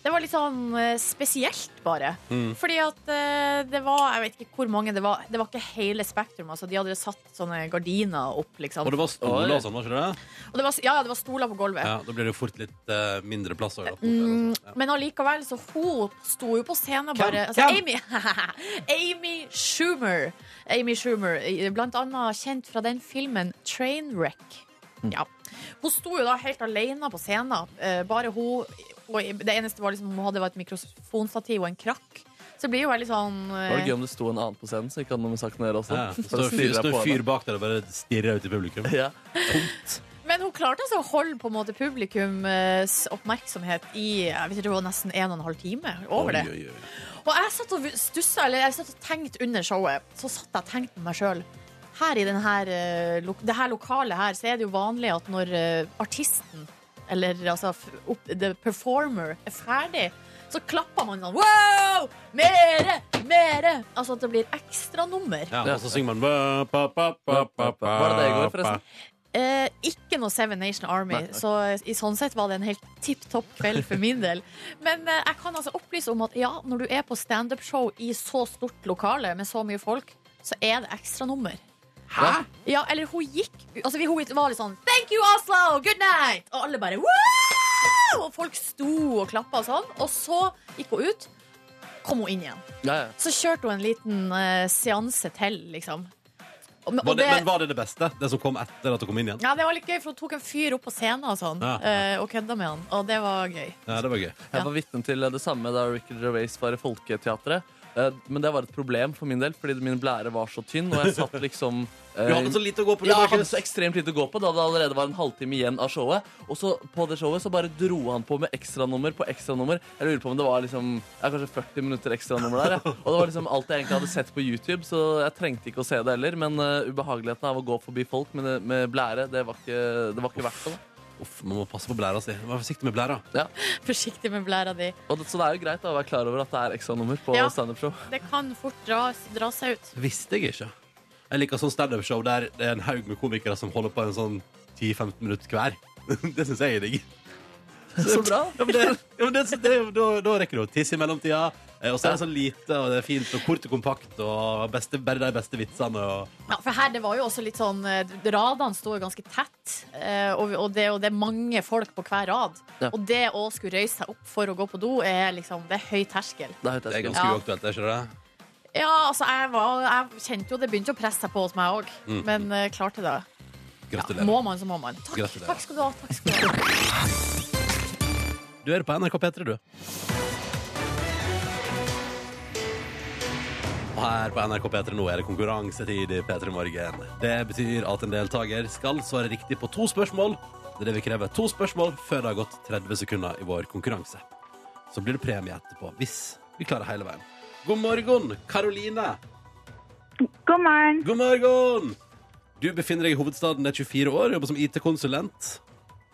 Det var litt sånn eh, spesielt, bare. Fordi at eh, det var Jeg vet ikke hvor mange det var. Det var ikke hele Spektrum. Altså, de hadde satt sånne gardiner opp, liksom.
Og det var stoler og sånn, var ikke det?
Og det var, ja, ja, det var stoler på gulvet.
Ja, Da blir det jo fort litt eh, mindre plass. altså. også, da, på
Mm,
hotell og sånt.
Men allikevel, så hun sto jo på scenen og bare altså, Amy, Amy Schumer. Amy Schumer, eh, blant annet kjent fra den filmen Trainwreck.
Mm.
Ja. Hun sto jo da helt alene på scenen. eh, Bare hun og Det eneste var liksom, hun hadde, var et mikrofonstativ og en krakk. Så det blir jo veldig sånn
Det var
eh,
gøy om det sto en annen på scenen, så ikke hadde noe med saken å gjøre også.
Ja.
Bare
Står
stirrer
fyr,
jeg
står
på
fyr bak der og bare stirrer ut i publikum.
henne. Ja.
Men hun klarte altså å holde på en måte publikums oppmerksomhet i jeg vet ikke, det var nesten en og en halv time. Over det.
Oi, oi, oi.
Og jeg satt og stussa, eller jeg satt og tenkte under showet. Så satt jeg og tenkte med meg sjøl. Her i den her, eh, lo- det her lokalet her, så er det jo vanlig at når eh, artisten, eller altså f- opp, the performer, er ferdig, så klapper man sånn Wow! Mere! Mere! Altså at det blir ekstranummer.
Ja, og så synger man ba, ba, ba, ba, ba, ba,
Var det det i går, forresten?
Eh, ikke noe Seven Nation Army,
Nei, nei.
så i sånn sett var det en helt tipp topp kveld for min del. Men eh, jeg kan altså opplyse om at ja, når du er på standup-show i så stort lokale med så mye folk, så er det ekstranummer.
Hæ?
Ja, eller hun gikk Altså vi- Hun var litt sånn Thank you, Oslo! Good night! Og alle bare Wow! Og folk sto og klappa og sånn. Og så gikk hun ut. Kom hun inn igjen.
Ja, ja.
Så kjørte hun en liten eh, seanse til, liksom. Og, og
Var det, men var det det beste? Det som kom etter at du kom inn igjen?
Ja, det var litt gøy, for hun tok en fyr opp på scenen og sånn
Ja.
eh, Og kødda med han, og det var gøy
Ja, det var gøy.
Ja.
Jeg var vitne til det samme da Richard Gervais var i Folketeatret. Eh, Men det var et problem for min del, fordi min blære var så tynn. Og jeg satt liksom eh,
Du hadde så lite å gå på.
ja, jeg hadde så ekstremt lite å gå på da det allerede var en halvtime igjen av showet. Og så på det showet så bare dro han på med ekstranummer på ekstranummer. Jeg lurer på om det var liksom ja, kanskje 40 minutter ekstranummer der. Ja. Og det var liksom alt jeg egentlig hadde sett på YouTube, så jeg trengte ikke å se det heller. Men eh, ubehageligheten av å gå forbi folk med, med blære, det var ikke, det var ikke verdt det. da.
Uff, man må passe på blæra si. Vær forsiktig med blæra.
Forsiktig med blæra di
Og det, så det er jo greit da, å være klar over at det er ekstranummer på
Ja.
standup-show.
Det kan fort dra, dra seg ut
Visste jeg ikke. Jeg liker sånn standup-show der det er en haug med komikere som holder på en sånn 10-15 minutter hver. Det syns jeg er digg.
Så bra.
Ja, men det, ja, men det, det, da, da rekker du å tisse i mellomtida. eh, Og så er det så lite, og det er fint og kort og kompakt, og beste, bare de beste vitsene. Og,
ja, For her, det var jo også litt sånn eh, Radene står jo ganske tett eh, og, og, det, og det er mange folk på hver rad
Ja.
Og det å skulle røyse seg opp for å gå på do Er liksom, det er høy terskel
Det er høyt
det er
terskel.
ganske
Ja.
uaktuelt, er ikke det?
Ja, altså jeg, var, jeg kjente jo det begynte å presse seg på hos meg også
Mm.
Men eh, klarte det ja,
Gratulerer.
Må man, så må man Takk,
Gratulerer.
takk skal du ha, takk skal du ha
Du er på NRK P3, du. Og her på NRK P3 nå er det konkurransetid i P3 Morgen. Det betyr at en deltaker skal svare riktig på to spørsmål. Det er det vi krever. To spørsmål før det har gått 30 sekunder i vår konkurranse. Så blir det premie etterpå, hvis vi klarer hele veien. God morgen, Karoline.
God morgen.
God morgen! Du befinner deg i hovedstaden, er 24 år, jobber som IT-konsulent.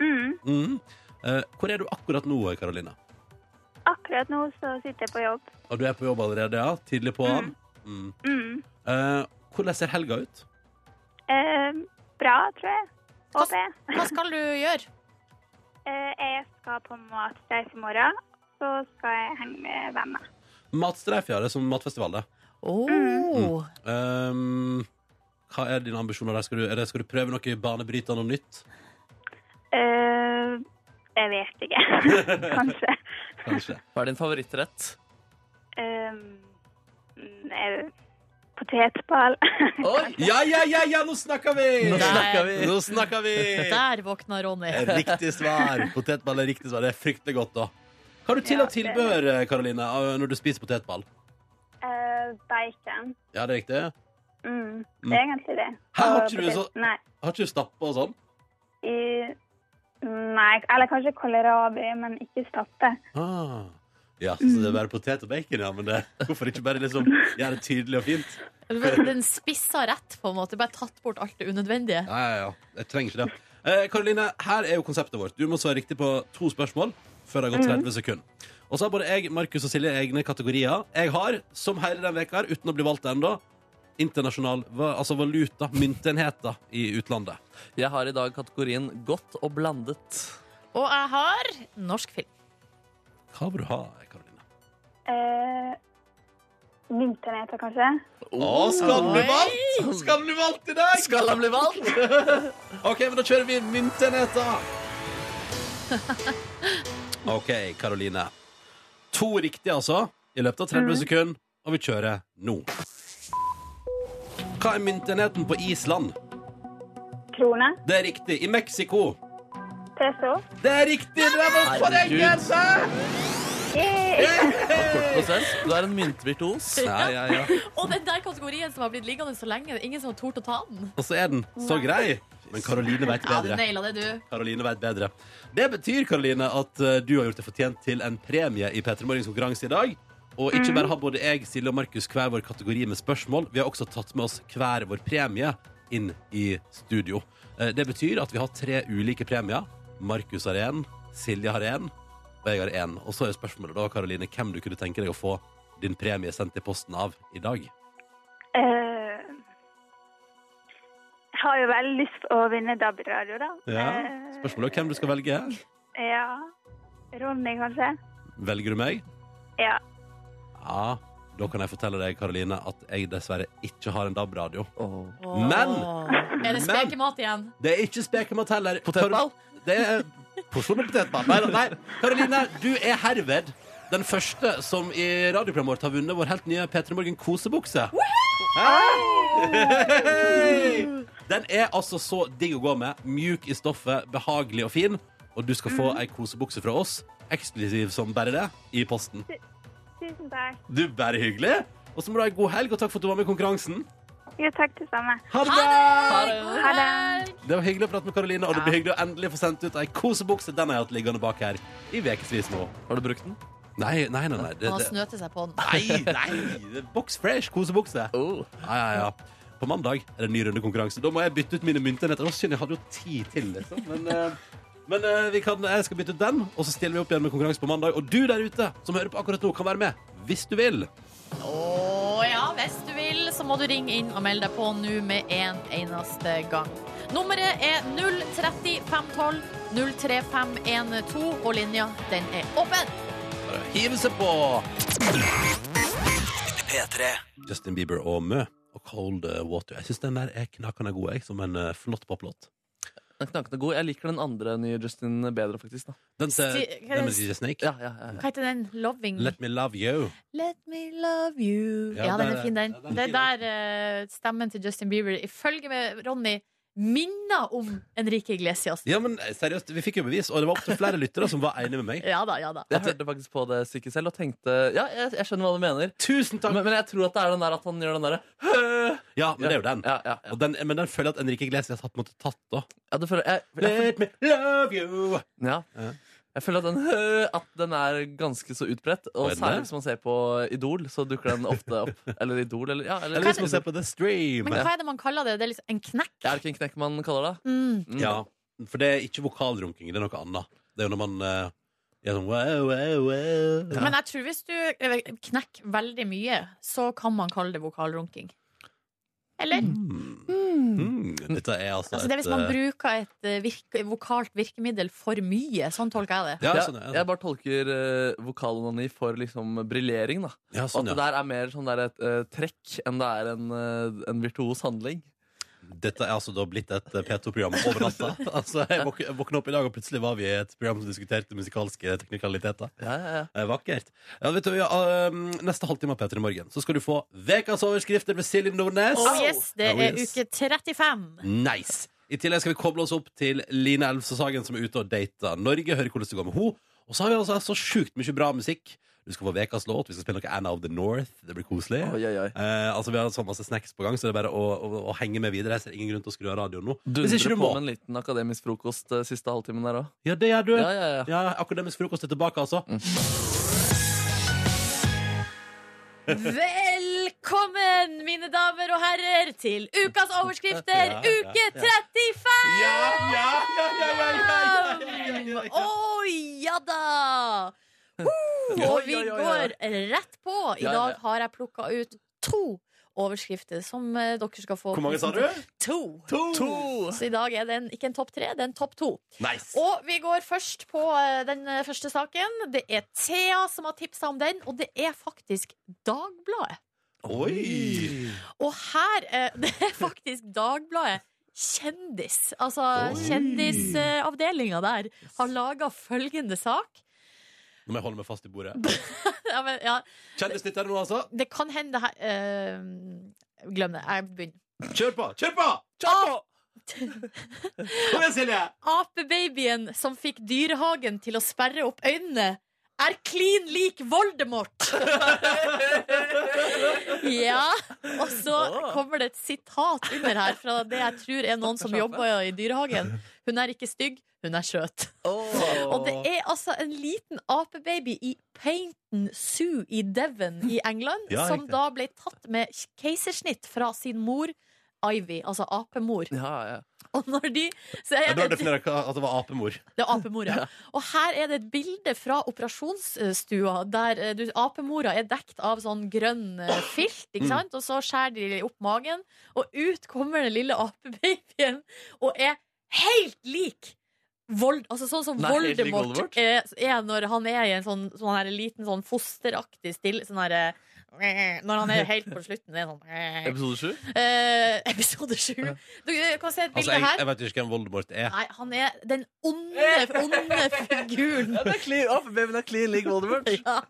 Mm.
Mhm. Eh, hvor er du akkurat nå, Karoline?
Akkurat nå så sitter jeg på jobb.
Og du er på jobb allerede, ja? Tidlig på han? Mm.
Mm.
Eh, hvordan ser helga ut?
Eh, bra, tror jeg. Håper jeg.
Hva skal du gjøre?
Eh, jeg skal på matstreif i morgen, så skal jeg henge med venner.
Matstreif, ja. Det er som matfestival, det.
Åh Oh,
Ehm, hva er dine ambisjoner der? Skal du, er det, skal du prøve noe banebrytende og nytt?
Eh, jeg vet ikke. Kanskje.
Kanskje.
Hva er din favorittrett?
Eh, mm, jeg, potetball.
Oi. Ja, ja, ja, ja, nå snakker vi!
Nå snakker
vi.
Nå snakker vi.
Der våkna Ronny.
Riktig svar. Potetball er riktig svar. Det er fryktelig godt, da. Hva har du til
Ja,
av tilbehør Karoline, av- når du spiser potetball?
Eh, bacon.
Ja, det er riktig.
Mm.
Mm.
Det er egentlig det.
Hæ, har
Og
ikke du
potet-
så-
Nei.
Har ikke du stappe og sånn?
I, nei, eller kanskje kålrabi, men ikke stappe.
Ah. Ja, så det er bare potet og bacon, ja. Men det, hvorfor ikke bare liksom gjøre det tydelig og fint?
Den spissa rett, på en måte. Bare tatt bort alt det unødvendige.
Ja, ja, ja. Jeg trenger ikke det. Eh, Karoline, her er jo konseptet vårt. Du må svare riktig på to spørsmål før det har gått 30 sekunder. Og så har både jeg, Markus og Silje egne kategorier. Jeg har, som hele den veka her, uten å bli valgt ennå, internasjonal va- altså valuta, myntenheter i utlandet.
Jeg har i dag kategorien godt og blandet.
Og jeg har norsk film.
Hva vil du ha, Karoline?
Uh, Vinterneter, kanskje?
Å, skal den bli valgt? Skal den bli valgt i dag?
Skal han bli valgt?
OK, men da kjører vi myntenheter. OK, Karoline. To riktige, altså, i løpet av 30 sekunder, og vi kjører nå. Hva er myntenheten på Island?
Krone.
Det er riktig. I Mexico.
Peso.
Det er riktig! Det var for enkelte!
Yeah.
Prosess. Du er en myntvirtuos.
Ja, ja, ja.
Og den der kategorien som har blitt liggende så lenge, det er ingen som har tort å ta den.
Og så er den så grei. Men Karoline veit
Ja, du
bedre.
naila det, du.
Karoline vet bedre. Det betyr Karoline, at eh, du har gjort deg fortjent til en premie i P3 Morgens konkurranse i dag. Og ikke bare har både jeg, Silje og Markus hver vår kategori med spørsmål, vi har også tatt med oss hver vår premie inn i studio. Eh, Det betyr at vi har tre ulike premier. Markus har én, Silje har én, og jeg har én. Og så er spørsmålet da, Karoline, hvem du kunne tenke deg å få din premie sendt i posten av i dag.
Eh, jeg har jo veldig lyst til å vinne DAB-radio, da.
Ja.
Eh,
Spørsmålet er hvem du skal velge.
ja. Ronny, kanskje?
Velger du meg?
Ja.
Ja, da kan jeg fortelle deg, Karoline, at jeg dessverre ikke har en DAB-radio.
Åh.
Men-
Er det
men-
spekemat igjen?
Det er ikke spekemat heller.
Potetball?
Kar- Det er porsjon med potetball. Nei, nei. Karoline, du er herved den første som i radioprogrammet vårt har vunnet vår helt nye P3 Morgen kosebukse. Hei! Den er altså så digg å gå med. Mjuk i stoffet, behagelig og fin. Og du skal få ei kosebukse fra oss, eksklusiv som bare det, i posten.
Tusen takk.
Du, bare hyggelig. Og så må du ha ei god helg, og takk for at du var med i konkurransen.
Jo, takk det samme.
Ha det bra!
God
Ha det.
helg!
Det var hyggelig å prate med Karoline, og det blir hyggelig å endelig få sendt ut ei kosebukse. Den har jeg hatt liggende bak her i ukevis nå.
Har du brukt den?
Nei, nei, nei. nei, det,
Han har
det.
snøtet seg på den.
nei, nei. det er Box fresh kosebukse.
Oh.
Ja, ja, ja. På mandag er det en ny runde konkurranse. Da må jeg bytte ut mine myntenheter. Å, Synd, jeg hadde jo ti til, liksom. Men, eh, men eh, vi kan, jeg skal bytte ut den, og så stiller vi opp igjen med konkurranse på mandag. Og du der ute som hører på akkurat nå, kan være med. Hvis du vil.
Å ja, hvis du vil, så må du ringe inn og melde deg på nå med en eneste gang. Nummeret er 03512 03512, og linja, den er åpen!
Bare hive seg på. Justin Bieber og Mø og Cold eh, Water. Jeg syns den der er knakende god, jeg, som en eh, flott poplåt.
Den er knakende god. Jeg liker den andre nye Justin bedre, faktisk. Da.
Den ser
Sti-
den med DJ Snake.
Ja, ja, ja.
Hva heter den? Loving?
Let me love you.
Let me love you.
Ja,
Ja,
der
den er
er-
fin, den.
ja, den er
Det er
fin,
der eh, stemmen til Justin Bieber, ifølge med Ronny, minner om Enrique Iglesias.
Ja, men eh, seriøst, vi fikk jo bevis, og det var opptil flere lyttere som var enige med meg.
Ja da, ja da.
Jeg hørte faktisk på det stykket selv og tenkte Ja, jeg, jeg skjønner hva du mener.
Tusen takk!
Men, men jeg tror at det er den der at han gjør den derre
Ja, men det er jo den.
Ja, ja, ja.
Og den men den føler jeg at Enrique Iglesias har på en måte tatt, da.
ja, det føler, jeg, jeg,
Let me love you!
ja.
Ja.
jeg føler at den, hø, at den er ganske så utbredt.
Er
Og
den det?
særlig hvis man ser på Idol, så dukker den ofte opp. Eller Idol, eller ja, eller,
Eller hvis man ser på The Stream.
Men hva er det man kaller det? Det er liksom en knekk?
Er det ikke en knekk man kaller det?
Mm.
Mm.
Ja, for det er ikke vokalrunking, det er noe annet. Det er jo når man eh, gjør sånn wow, wow, wow.
Men jeg tror hvis du eh, knekker veldig mye, så kan man kalle det vokalrunking. Eller?
Mm, dette er altså,
Altså, det er hvis man
eh,
bruker et eh, virke, vokalt virkemiddel for mye. Sånn tolker jeg det.
ja,
Jeg,
sånn, ja,
jeg bare tolker uh, vokalonani for liksom briljering, da.
ja,
Og at
sånn,
det
ja.
der er mer sånn der et eh, trekk enn det er en, eh, en virtuos handling.
Dette er altså da blitt et eh, P2-program over natta. altså, jeg våk- jeg våkna opp i dag, og plutselig var vi i et program som diskuterte musikalske teknikaliteter.
Ja, ja, ja.
Eh, Vakkert. Ja, vet du, ja, um, neste halvtime av Peter i morgen Så skal du få Vekas overskrifter med Silje Nordnes.
Oh yes, det
Oh,
er
yes.
uke 35.
Nice. I tillegg skal vi koble oss opp til Line Elvsåshagen, som er ute og dater Norge. Høre hvordan det går med henne. Og så har vi altså så sjukt mye bra musikk. Du skal få Vekas låt. Vi skal spille noe Anna of the North. Det blir koselig.
Oi, oi, oi.
Eh, altså Vi har så masse snacks på gang, så det er bare å, å, å henge med videre. Jeg ser ingen grunn til å skru av radioen nå. Hvis ikke
Dundrer
du
på
må.
med en liten akademisk frokost eh, siste halvtimen der òg.
Ja, det gjør du.
Ja, Mm. ja, ja.
Ja, Akademisk frokost er tilbake, altså.
Velkommen, mine damer og herrer, til ukas overskrifter,
Ja, ja,
uke
ja.
35!
Ja, ja, ja, ja, ja, ja, ja, ja,
Å
ja.
ja da! Woo!
Ja.
Og vi
Oi, oi, oi, oi.
går rett på. I
Ja, ja.
dag har jeg plukka ut to overskrifter som eh, dere skal få.
Hvor mange sa du?
To. Så i dag er det en, ikke en topp tre, det er en topp to.
Nice.
Og vi går først på eh, den eh, første saken. Det er Thea som har tipsa om den, og det er faktisk Dagbladet.
Oi!
Og her eh, Det er faktisk Dagbladet Kjendis. Altså kjendisavdelinga der har laga følgende sak.
Nå må jeg holde meg fast i bordet.
Ja, men, ja,
Kjendisnytt er det nå, altså.
det kan hende det her eh, Glem det. Jeg begynner.
Kjør på! Kjør på! Kjør på! Kom igjen, Silje!
Apebabyen som fikk dyrehagen til å sperre opp øynene, er klin lik Voldemort! ja. Og så kommer det et sitat under her fra det jeg tror er noen som jobber i dyrehagen. Hun er ikke stygg, hun er skjøt. Og det er altså en liten apebaby i Paynton Zoo i Devon i England
Ja,
som
riktig.
da ble tatt med keisersnitt fra sin mor. Ivy, altså apemor.
Ja, ja.
Og når de så
Jeg
er
bør
det-
definere hva- at det var apemor.
det er apemora. Og her er det et bilde fra operasjonsstua, der eh, du, apemora er dekt av sånn grønn eh, filt,
Mm.
ikke sant? Og så skjærer de opp magen, og ut kommer den lille apebabyen og er helt lik! Vold, altså sånn som
Nei, helt lik
Voldemort,
Voldemort.
Er, er når han er i en sånn, sånn her liten sånn fosteraktig stille sånn her, eh, Når han er helt på slutten, det er sånn eh,
Episode sju?
eh, Episode sju. Du, du kan se et
Altså,
bilde
jeg,
her.
jeg vet jo ikke hvem Voldemort er.
Nei, han er den onde, onde figuren.
Det er clean, Apebabyen er clean lik Voldemort.
Ja.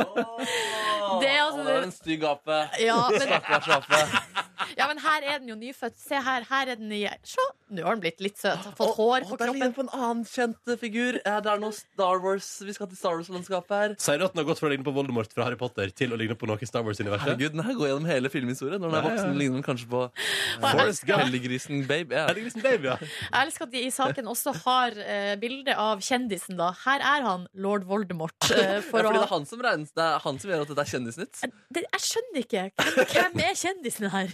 Det er altså-
Å, det er en stygg ape.
Ja, men,
Stakkars ape.
ja, men her er den jo nyfødt. Se her, her er den nye. Se, nå har den blitt litt søt. Har fått hår på
Der ligner
kroppen.
på en annen kjent eh, figur. Ja, det er noe Star Wars Vi skal til Star Wars-landskapet her.
Sier du at den har gått fra å ligne på Voldemort fra Harry Potter til å ligne på noe i Star Wars-universet?
Herregud, den her går gjennom hele filmhistorien. Når den er
Ja, ja, ja.
voksen, ligner den kanskje på
Forrest Gump.
Heldiggrisen Babe. Ja.
Herregud, liksom baby, ja.
Jeg elsker at de i saken også har eh, bilde av kjendisen, da. Her er han, lord Voldemort. eh, for
Ja, fordi det
å,
er han som regnes Det er han som gjør at dette er kjendisnytt.
det, jeg skjønner ikke. Hvem, hvem er kjendisen her?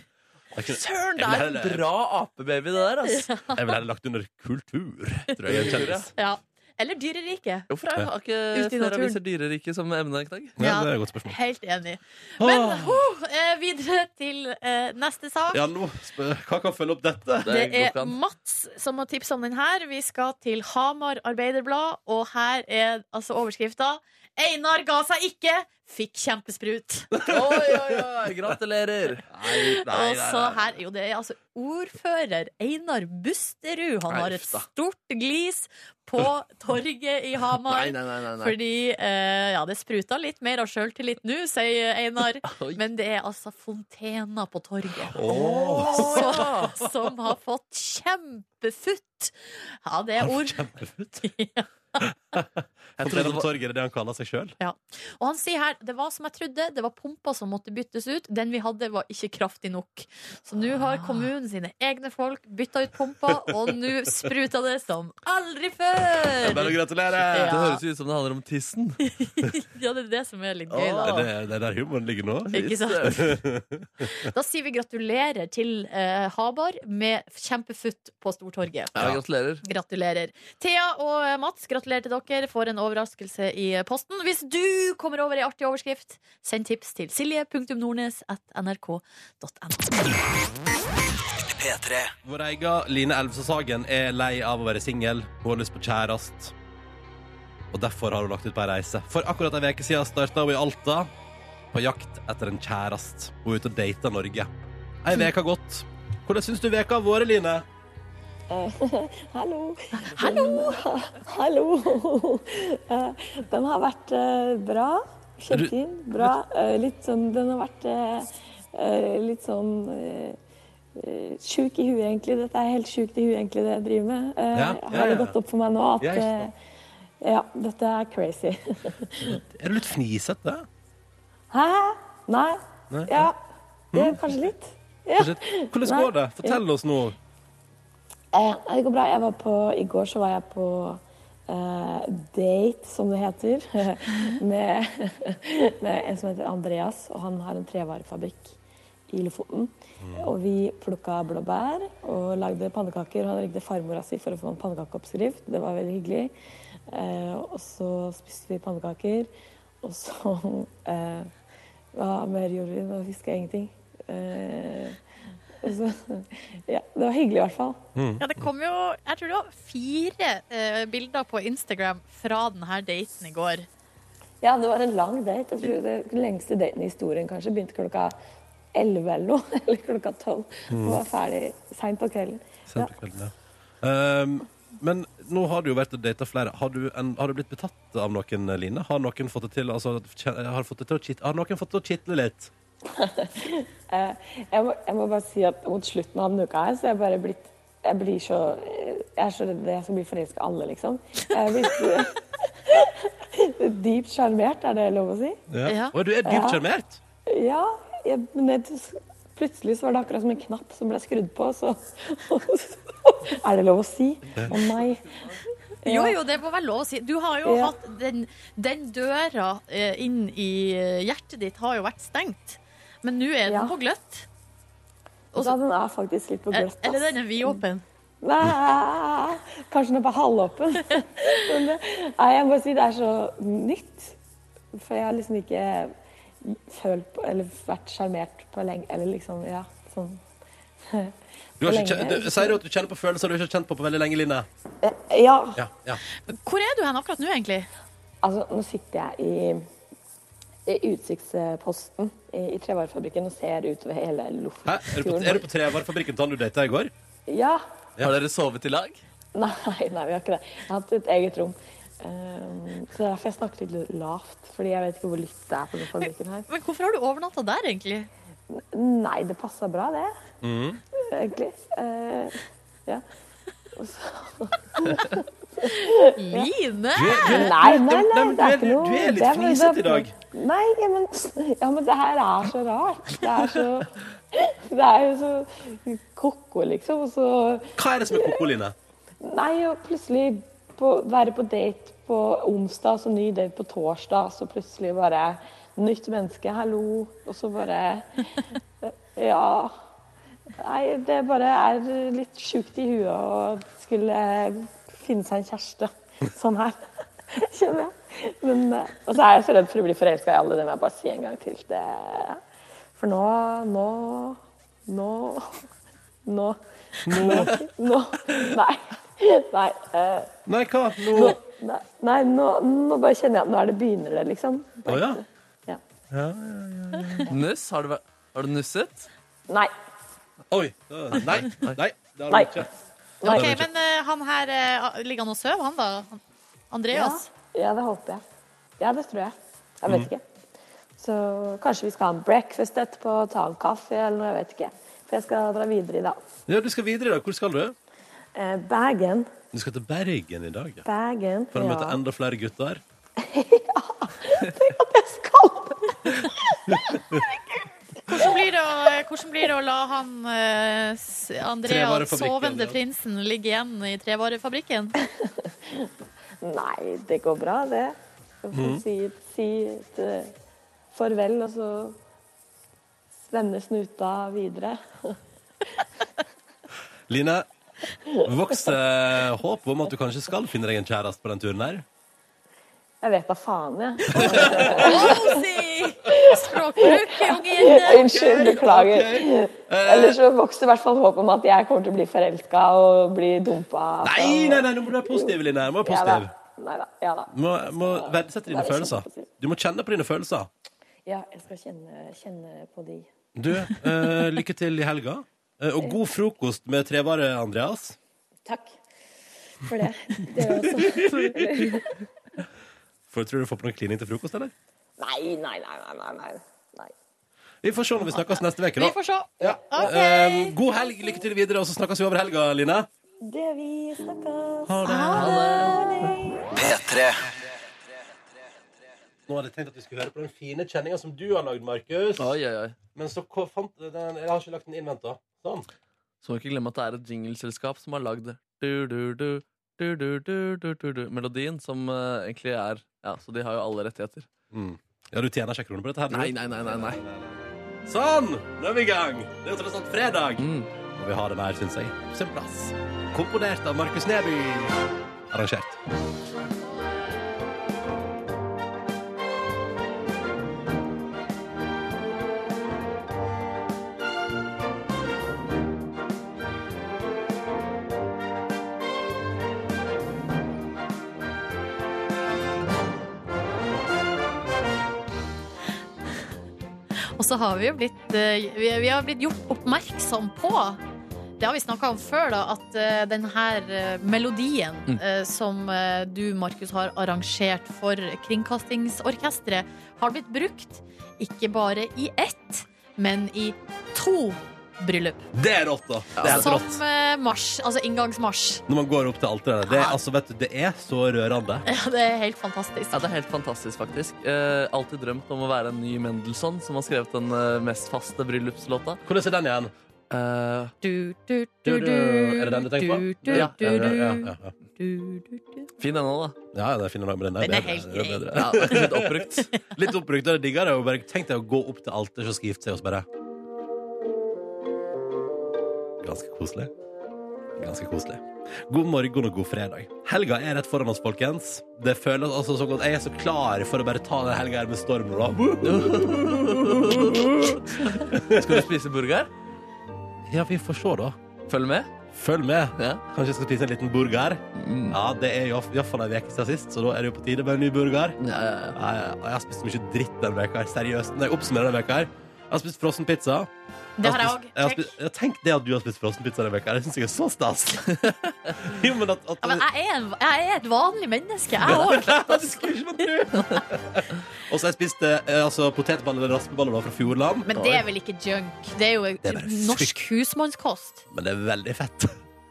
Jeg kunne-
Søren, det
Jeg
er
vil
en
heller-
bra apebaby, det der. Altså.
jeg ville heller lagt under kultur. Tror jeg er en kjendis.
Ja. Eller dyreriket.
Hvorfor er har ikke
Ute i
flere
naturen.
aviser dyrerike som emne i dag?
Ja, det er et godt spørsmål.
Helt enig. Men
Åh.
huh, eh, videre til eh, neste sak.
Ja, nå, sp- hva kan følge opp
Det
dette?
Det
går ikke
er
an.
Mats som har tipsa om den her. Vi skal til Hamar Arbeiderblad, og her er altså overskrifta 'Einar ga seg ikke, fikk kjempesprut'.
Oi, oi, oi, gratulerer!
og så her, jo det er altså ordfører Einar Busterud. Han
Nei,
har et
uff da.
stort glis på torget i
Nei,
Hamar.
nei, nei. nei, nei.
Fordi eh, ja, det spruta litt mer av sjøltillit nå, sier Einar.
Oi.
Men det er altså fontener på torget.
Åh.
Så, som har fått kjempefutt. Ja, det er ord. Ja.
Jeg
Fontene
trodde
på
det var,
torget er det han kaller seg sjøl.
Og han sier her det var som jeg trodde, det var pumpa som måtte byttes ut. Den vi hadde, var ikke kraftig nok. Så nå har kommunen sine egne folk bytta ut pumpa, og nå spruta det som aldri
Bare å
før!
gratulere!
det
Ja.
høres jo ut som det handler om tissen.
Ja, det er det som er litt gøy, da.
Det er det er der humoren ligger nå.
Ikke sant? Da sier vi gratulerer til eh, Habar med kjempefutt på Stortorget.
Ja, gratulerer.
Gratulerer. Thea og Mats, gratulerer til dere for en overraskelse i posten. Hvis du kommer over ei artig overskrift, send tips til silje.nordnes.nrk.no.
Vår egen Line Elvsås Hagen er lei av å være singel. Hun har lyst på kjærest. Og derfor har hun lagt ut på ei reise. For akkurat ei uke siden starta hun i Alta på jakt etter en kjærest. Hun er ute og dater Norge. Ei uke har gått. Hvordan syns du veka har vært, Line?
Hallo! Hallo! Hallo! Eh, Den har vært eh, bra. Kjempefin. Bra. Eh, Litt sånn Den har vært eh, eh, litt sånn eh, eh, Sjuk i huet, egentlig. Dette er helt sjukt i huet, egentlig, det jeg driver med. Eh,
Ja, ja,
Har det
ja.
gått opp for meg nå at
Ja, ikke sant.
eh, Ja, dette er crazy.
Er du litt fnisete?
Hæ? Nei?
Nei, Mm.
Ja. ja kanskje litt. Ja.
Hvordan
Nei.
går det? Fortell oss nå.
Eh, det går bra. Jeg var på, I går så var jeg på eh, date, som det heter, med, med en som heter Andreas. Og han har en trevarefabrikk i Lofoten. Og vi plukka blåbær og lagde pannekaker. Og han ringte farmora si for å få en pannekakeoppskrift. Det var veldig hyggelig. Eh, og så spiste vi pannekaker. Og så eh, Hva mer gjorde vi? Nå husker jeg ingenting. Eh, og så, ja, det var hyggelig i hvert fall.
Ja, det kom jo Jeg tror det var fire eh, bilder på Instagram fra denne daten i går.
Ja, det var en lang date. Jeg tror det Den lengste daten i historien kanskje begynte klokka 11 eller noe. Eller klokka 12. Og var ferdig seint på kvelden.
Sent på kvelden, ja. Ehm, men nå har du jo vært og data flere. Har du, en, har du blitt betatt av noen, Line? Har noen fått det til, altså, kje- har fått det til å kitle Har noen fått det til å kitle litt?
Jeg må, jeg må bare si at mot slutten av denne uka her, så er jeg bare blitt Jeg blir så Jeg er så redd jeg skal bli forelska i alle, liksom. Jeg er blitt Dypt sjarmert, er det lov å si?
Ja.
Oi, du er dypt sjarmert!
Ja. Jeg, men det, plutselig så var det akkurat som en knapp som ble skrudd på, så Er det lov å si? Å nei.
Jo,
Ja.
jo, det må være lov å si. Du har jo
Ja.
hatt den, den døra eh, inn i eh, hjertet ditt har jo vært stengt, men nå er den
Ja.
på gløtt. Og
Ja,
så-
den er faktisk litt på
Eller
gløtt.
eller
ass. Mm.
den er vidåpen.
Nei, kanskje den er på halvåpen. Men det, nei, jeg må bare si det er så nytt. For jeg har liksom ikke følt på, eller vært sjarmert på lenge. Eller liksom, ja, sånn.
Du har
Hvor
ikke, kjen-
lenge?
du, sier du at du kjenner på følelser du ikke har kjent på på veldig lenge, Line?
Eh, Ja,
Ja, ja.
Hvor er du hen akkurat nå, egentlig?
altså nå sitter jeg i, i utsiktsposten i, i trevarefabrikken og ser utover hele
Hæ?
Lofoten.
Er du på, er du på trevarefabrikken til han du data i går?
Ja.
Har dere sovet i lag?
Nei, nei, vi har ikke det. Jeg har hatt et eget rom. Um, så det er derfor jeg snakker litt lavt. Fordi jeg vet ikke hvor lytt det er på den fabrikken her.
Men hvorfor har du overnatta der, egentlig?
Nei, det passa bra, det.
Mm.
Egentlig. Eh, ja.
Line!
Nei,
nei,
nei, nei,
men
det er
du er-
ikke noe
du er litt
det bare-
fnisete
det
i
er- liksom-
dag.
Nei, ja, men, ja, men det her er så rart. Det er så Det er jo så ko-ko, liksom. Og så
Hva er det som er koko, Line?
Nei, og plutselig på, være på date på onsdag, så ny date på torsdag, så plutselig bare Nytt menneske, hallo. Og så bare Ja. Nei, det bare er litt sjukt i huet å skulle finne seg en kjæreste sånn her. Kjenner jeg. Men, eh, og så er jeg så redd for å bli forelska i alle. Det må jeg bare si en gang til. Det, for nå Nå Nå Nå Nå, nå Nei. Nei, eh,
Nei, hva? Nå
nei, nei nå, nå bare kjenner jeg at nå er det begynner det, liksom.
Å ja.
Ja.
Nuss? Har du, vært- har du nusset?
Nei.
Oi. Nei. Nei. Det har du
Nei.
ikke.
nei.
Ok, men eh, han her eh, ligger han og sover, han da? Han- Andreas?
Ja, ja, det håper jeg. Ja, det tror jeg. Jeg vet ikke. Så kanskje vi skal ha en breakfast etterpå, ta en kaffe eller noe, jeg vet ikke. For jeg skal dra videre i dag.
Ja, du skal videre i dag. Hvor skal du?
Eh, Bergen.
Du skal til Bergen i dag, ja.
Bergen.
For å møte
ja.
enda flere gutter.
At jeg skal!
Hvordan blir, det å, eh, hvordan blir det å la han eh, s- Andreas,
Trevarefabrikken,
sovende
ja.
prinsen, ligge igjen i trevarefabrikken?
Nei, det går bra, det. Jeg får
Mhm.
Si, si et eh, farvel, og så vende snuta videre.
Line, vokser håpet om at du kanskje skal finne deg en kjæreste på den turen her?
Jeg vet da faen, jeg.
Rosie! Språkbruk, unge jente!
Unnskyld, beklager. Eller så vokser i hvert fall håpet om at jeg kommer til å bli forelska og bli dumpa.
Nei, nei, nei, nå må du være positiv, Line. Nå Må være
Ja da.
positiv.
Nei da. Ja da.
Du må, må verdsette dine
Være
følelser.
kjempepositiv.
Du må kjenne på dine følelser.
Ja, jeg skal kjenne, kjenne på de.
Du, eh, lykke til i helga. Eh, Og god frokost med trevare, Andreas.
Takk for det. Det er jo også
For tror du du får på noe klining til frokost, eller?
Nei, nei, nei, nei, nei. nei. nei.
Vi får se når vi snakkes neste uke,
Vi
da.
får se.
Ja.
Ok.
Eh, god helg, lykke til videre, og så snakkes vi over helga, Line.
Det vi snakkes
Ha det.
P3
Nå hadde jeg tenkt at vi skulle høre på den fine kjenninga som du har lagd, Markus.
Oi, oi, oi.
Men så ko- fant jeg den Jeg har ikke lagt den inn, vent, da. Sånn.
Så må vi ikke glemme at det er et jingleselskap som har lagd du-du-du, du-du-du-du-du-du-melodien, som eh, egentlig er Ja, så de har jo alle rettigheter.
Ja, du tjener ikke en krone på dette her? du?
Nei, nei, nei, nei, nei.
Sånn! Nå er vi i gang. Det er jo tross alt fredag.
Mm.
Og vi har den her, syns jeg. På sin plass. Komponert av Markus Neby. Arrangert.
Og så har vi jo blitt eh, Vi, vi har blitt gjort oppmerksom på det har vi snakka om før, da, at eh, den her eh, melodien
Mm.
eh, som eh, du, Markus, har arrangert for Kringkastingsorkesteret, har blitt brukt ikke bare i ett, men i to bryllup.
Det er rått, da. Det er helt
Som
rått.
eh, marsj, altså inngangsmarsj.
Når man går opp til alteret.
Ah.
Det, er- altså, vet du, det er så rørende.
Ja, det er helt fantastisk.
Ja, det er helt fantastisk, faktisk. Eh, alltid drømt om å være en ny Mendelssohn, som har skrevet den eh, mest faste bryllupslåta.
Hvordan er den igjen?
Eh,
Du, du,
Du, du. Er det den du tenker på?
du, du,
Ja.
du,
Ja,
du,
ja, ja, ja.
du, du, du.
fin den òg, da.
Ja, ja, det er fin dag, men den er
Den er
bedre.
helt
Den er
grei.
bedre.
Ja, det er ikke litt oppbrukt.
Litt oppbrukt, og det digger jeg. og bare Tenk deg å gå opp til alteret og skal gifte seg, og så bare Ganske koselig. Ganske koselig. God morgen og god fredag. Helga er rett foran oss, folkens. Det føles altså som at jeg er så klar for å bare ta den helga her med storm nå, da.
Skal du spise burger?
Ja, vi får se, da.
Følg med.
Følg med.
Ja.
Kanskje jeg skal spise en liten burger.
Mm.
Ja, det er iallfall ei uke siden sist, så da er det jo på tide med en ny burger.
Ja, ja, ja.
Nei, Jeg jeg har spist mye dritt denne veka her. Seriøst. Når jeg oppsummerer denne veka her. Jeg har spist frossen pizza.
Det har jeg
spist-
òg.
har spist- ja, Tenk det at du har spist frossen pizza denne veka. her. Det syns jeg er så stas. jo, men at, at
Ja, men jeg er, en, jeg er et vanlig menneske, jeg òg.
Det skulle ikke man tro. Og så har jeg spist eh, altså, potetballer eller raspeballer da, fra Fjordland.
Men det er vel ikke junk? Det er jo
er bare
norsk husmannskost.
Men det er veldig fett.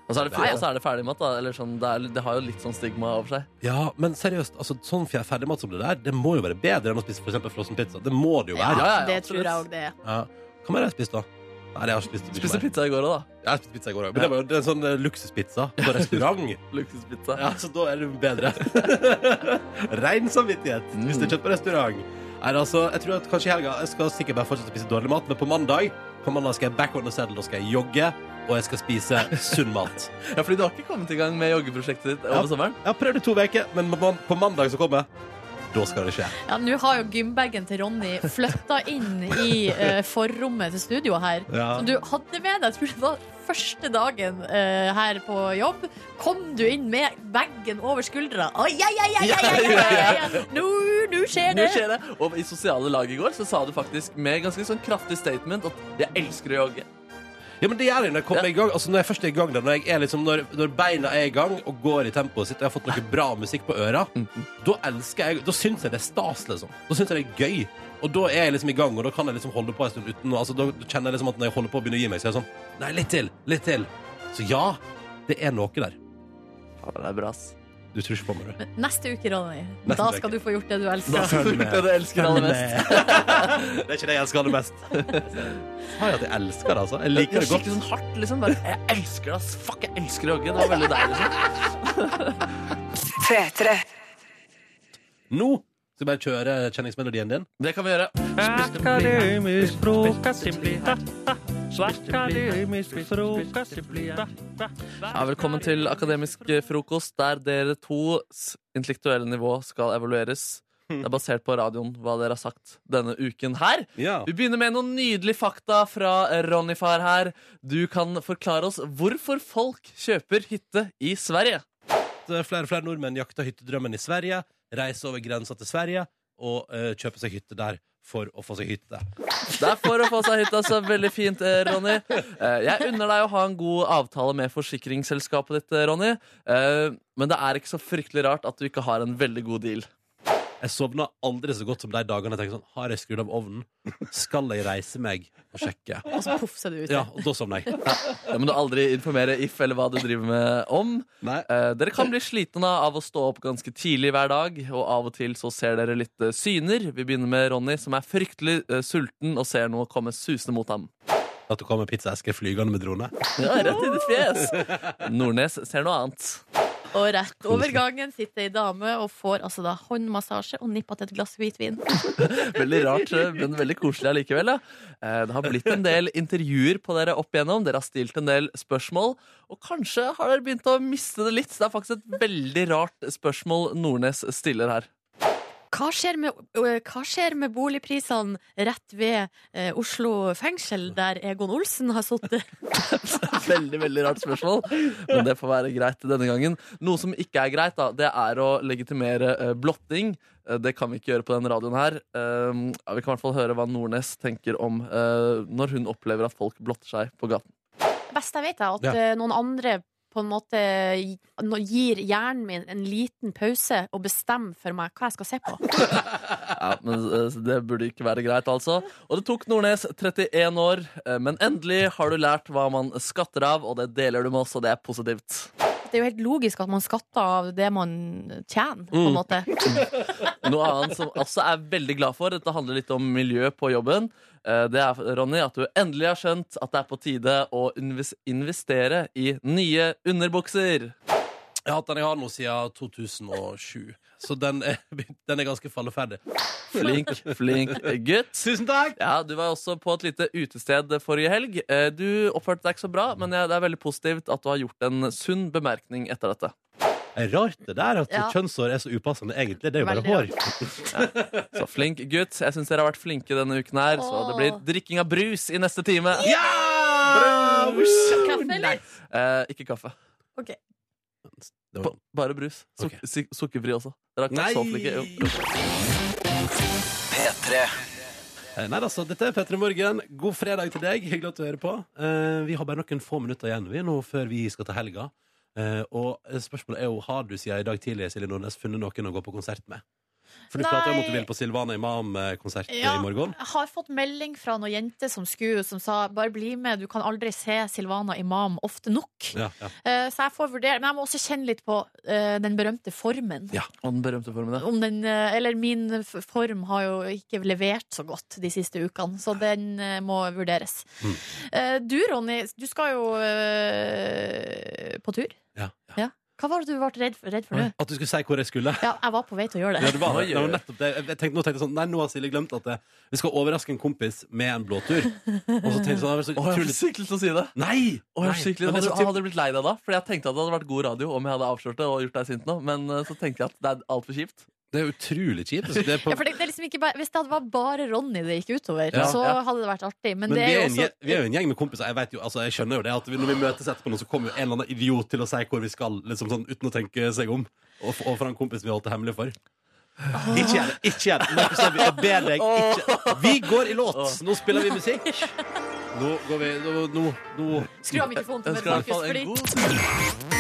Og så er det, og så er det ferdigmat, da. Eller sånn, det, er, det har jo litt sånn stigma over seg.
Ja, men seriøst, altså, sånn fjer- ferdigmat som det der, det må jo være bedre enn å spise for eksempel frossen pizza. Det må det jo
Ja,
være.
ja, ja,
det
absolutt.
tror jeg òg det er.
Ja. Hva mer har jeg spist, da? Nei, jeg har ikke spist mye
Spiste
mer.
pizza i går òg, da.
Jeg har spist pizza i går òg. Men det var jo en sånn eh, luksuspizza på restaurant.
Luksuspizza.
Ja, så da er det bedre. Rein samvittighet hvis du er kjøtt på restaurant. Nei, altså, jeg tror at kanskje i helga Jeg skal sikkert bare fortsette å spise dårlig mat, men på mandag På mandag skal jeg back on the saddle, og skal jeg jogge, og jeg skal spise sunn mat.
Ja, fordi du har ikke kommet i gang med joggeprosjektet ditt
Ja.
over sommeren?
Jeg har prøvd i to uker, men på man- på mandag som kommer, da skal det skje.
Ja, Nå har jo gymbagen til Ronny flytta inn i eh, forrommet til studioet her.
Ja.
Som du hadde med deg, jeg tror det var første dagen eh, her på jobb. Kom du inn med bagen over skuldra. Oi, ja, ja, ja, ja, ja, ja, ja, ja. Nå, nå skjer
Nå
det!
skjer det. Og i sosiale lag i går så sa du faktisk med ganske sånn kraftig statement at 'jeg elsker å jogge'.
Ja, men det gjør jeg når jeg kommer
Ja.
i gang. Altså, når jeg først er i gang, da, når, jeg er liksom, når, når beina er i gang og går i tempoet sitt, og jeg har fått noe bra musikk på øra, da elsker jeg Da syns jeg det er stas, liksom. Da syns jeg det er gøy. Og da er jeg liksom i gang, og da kan jeg liksom holde på en stund uten å- altså, Da kjenner jeg liksom at når jeg holder på å begynne å gi meg, så er jeg sånn Nei, litt til. Litt til. Så ja, det er noe der.
Ja, det er bra, ass.
Du tror ikke på meg, du.
Neste uke, Ronny,
Neste
da
uke.
skal du få gjort det du elsker.
Da følger
Det du elsker aller mest.
Det er ikke det jeg elsker aller mest. Sa jeg at jeg elsker det, altså? Jeg liker det godt.
Skikkelig sånn hardt, liksom. Bare, jeg elsker det, ass. Fuck, jeg elsker å jogge. Det var veldig deilig. Liksom.
Nå skal jeg bare kjøre kjenningsmelodien din.
Det kan vi gjøre.
Akademisk frokost i blida. Akademisk frokost i blida.
Ja, velkommen til Akademisk frokost, der dere tos intellektuelle nivå skal evalueres. Det er basert på radioen hva dere har sagt denne uken her. Vi begynner med noen nydelige fakta fra Ronny-far her. Du kan forklare oss hvorfor folk kjøper hytte i Sverige.
at flere og flere nordmenn jakter hyttedrømmen i Sverige, reiser over grensa til Sverige og eh, kjøper seg hytte der for å få seg hytte.
Det er for å få seg hytte, altså. Veldig fint, eh, Ronny. Eh, Jeg unner deg å ha en god avtale med forsikringsselskapet ditt, eh, Ronny. Eh, Men det er ikke så fryktelig rart at du ikke har en veldig god deal.
Jeg sovna aldri så godt som de dagene jeg tenker sånn Har jeg skrudd av ovnen? Skal jeg reise meg og sjekke?
Og så poff, så er du ute.
Ja, og da sovner jeg.
Det må du aldri informere if eller hva du driver med om. Eh, dere kan bli slitne av å stå opp ganske tidlig hver dag, og av og til så ser dere litt eh, syner. Vi begynner med Ronny, som er fryktelig eh, sulten og ser noe komme susende mot ham.
At det kommer pizzaesker flygende med drone.
Ja, rett i ditt fjes. Nordnes ser noe annet.
Og rett over gangen sitter ei dame og får altså da håndmassasje og nippa til et glass hvitvin.
Veldig rart, men veldig koselig allikevel. da. Eh, Det har blitt en del intervjuer på dere opp igjennom. Dere har stilt en del spørsmål, og kanskje har dere begynt å miste det litt. Det er faktisk et veldig rart spørsmål Nordnes stiller her.
Hva skjer med, øh, hva skjer med boligprisene rett ved eh, Oslo fengsel, der Egon Olsen har sittet?
Veldig, veldig rart spørsmål, men det får være greit denne gangen. Noe som ikke er greit, da, det er å legitimere eh, blotting. Eh, Det kan vi ikke gjøre på denne radioen her. Eh, ja, Vi kan i hvert fall høre hva Nordnes tenker om eh, når hun opplever at folk blotter seg på gaten.
Best jeg vet, er at
Ja.
eh, noen andre på en måte gi- nå gir hjernen min en liten pause og bestemmer for meg hva jeg skal se på.
Ja, men eh, Det burde ikke være greit, altså. Og det tok Nordnes 31 år, eh, men endelig har du lært hva man skatter av, og det deler du med oss, og det er positivt.
Det er jo helt logisk at man skatter av det man tjener, på
Mm.
en måte.
Noe annet som også er veldig glad for, dette handler litt om miljø på jobben, eh, det er, Ronny, at du endelig har skjønt at det er på tide å inves- investere i nye underbukser.
Jeg har hatt den jeg har nå siden 2007. Så den er, den er ganske falleferdig.
Flink, flink gutt.
Tusen takk!
Ja, Du var også på et lite utested forrige helg. Eh, Du oppførte deg ikke så bra, men jeg- det er veldig positivt at du har gjort en sunn bemerkning etter dette.
Det er rart det der at
Ja.
kjønnshår er så upassende, egentlig. Det er jo bare
Veldig
hår.
Så flink gutt. Jeg syns dere har vært flinke denne uken her, så det blir drikking av brus i neste time.
Ja!
Kaffe, eller?
Eh, ikke kaffe.
Ok.
Ba- bare brus. Suk suk sukkerfri også. Dere har ikke
Nei.
soveflikke,
P3. Nei, altså, dette er P3 Morgen. God fredag til deg. Hyggelig at du hører på. Eh, vi har bare noen få minutter igjen vi nå før vi skal til helga. Eh, og spørsmålet er jo, har du siden i dag tidlig Silje Nordnes, funnet noen å gå på konsert med? For du
Nei.
prater jo om at du vil på Silvana Imam-konsert i morgen.
Jeg har fått melding fra noen jenter som skulle, som sa bare bli med, du kan aldri se Silvana Imam ofte nok.
Ja, ja.
Eh, Så jeg får vurdere, men jeg må også kjenne litt på eh, den berømte formen.
Og den berømte formen der.
Om den, eh, eller min f- form har jo ikke levert så godt de siste ukene, så den eh, må vurderes.
Mm.
Eh, Du, Ronny, du skal jo eh, på tur.
Ja,
Ja. Hva var det du ble redd for, redd for nå?
At du skulle si hvor jeg skulle.
Ja, jeg var på vei til å gjøre det.
Ja, det var, det var nettopp det. Jeg tenkte, nå tenkte jeg sånn, nei, nå har Silje glemt at det, vi skal overraske en kompis med en blåtur. Og så tenkte jeg sånn, det var så
Å, jeg
utrolig...
fikk skikkelig lyst til å si det.
Nei!
Å, jeg
Nei,
fikk skikkelig,
men det
hadde,
er så typ-
hadde du blitt lei deg da? Fordi jeg tenkte at det hadde vært god radio om jeg hadde avslørt det og gjort deg sint nå, men eh, så tenkte jeg at det er altfor kjipt.
Det er utrolig kjipt. altså. Det er på-
Ja, for det, det er liksom ikke bare, hvis det hadde vært bare Ronny det gikk utover,
Ja.
så
Ja.
hadde det vært artig. Men,
Men,
det
vi, er
er jo
en,
også
gjeng- vi er jo en gjeng med kompiser. Jeg, vet jo, altså, jeg skjønner jo det at vi- Når vi møtes etterpå, nå, så kommer jo en eller annen idiot til å si hvor vi skal, liksom sånn, uten å tenke seg om. Og, f- og fra en kompis vi holdt det hemmelig for. Ikke gjør det! Ikke gjør det! Markus Neby, jeg ber deg, ikke Vi går i låt! Nå spiller vi musikk. Nå går vi Nå, nå, nå.
Skru av mikrofonen til
Ønsker i hvert
Markus,
fall en
fordi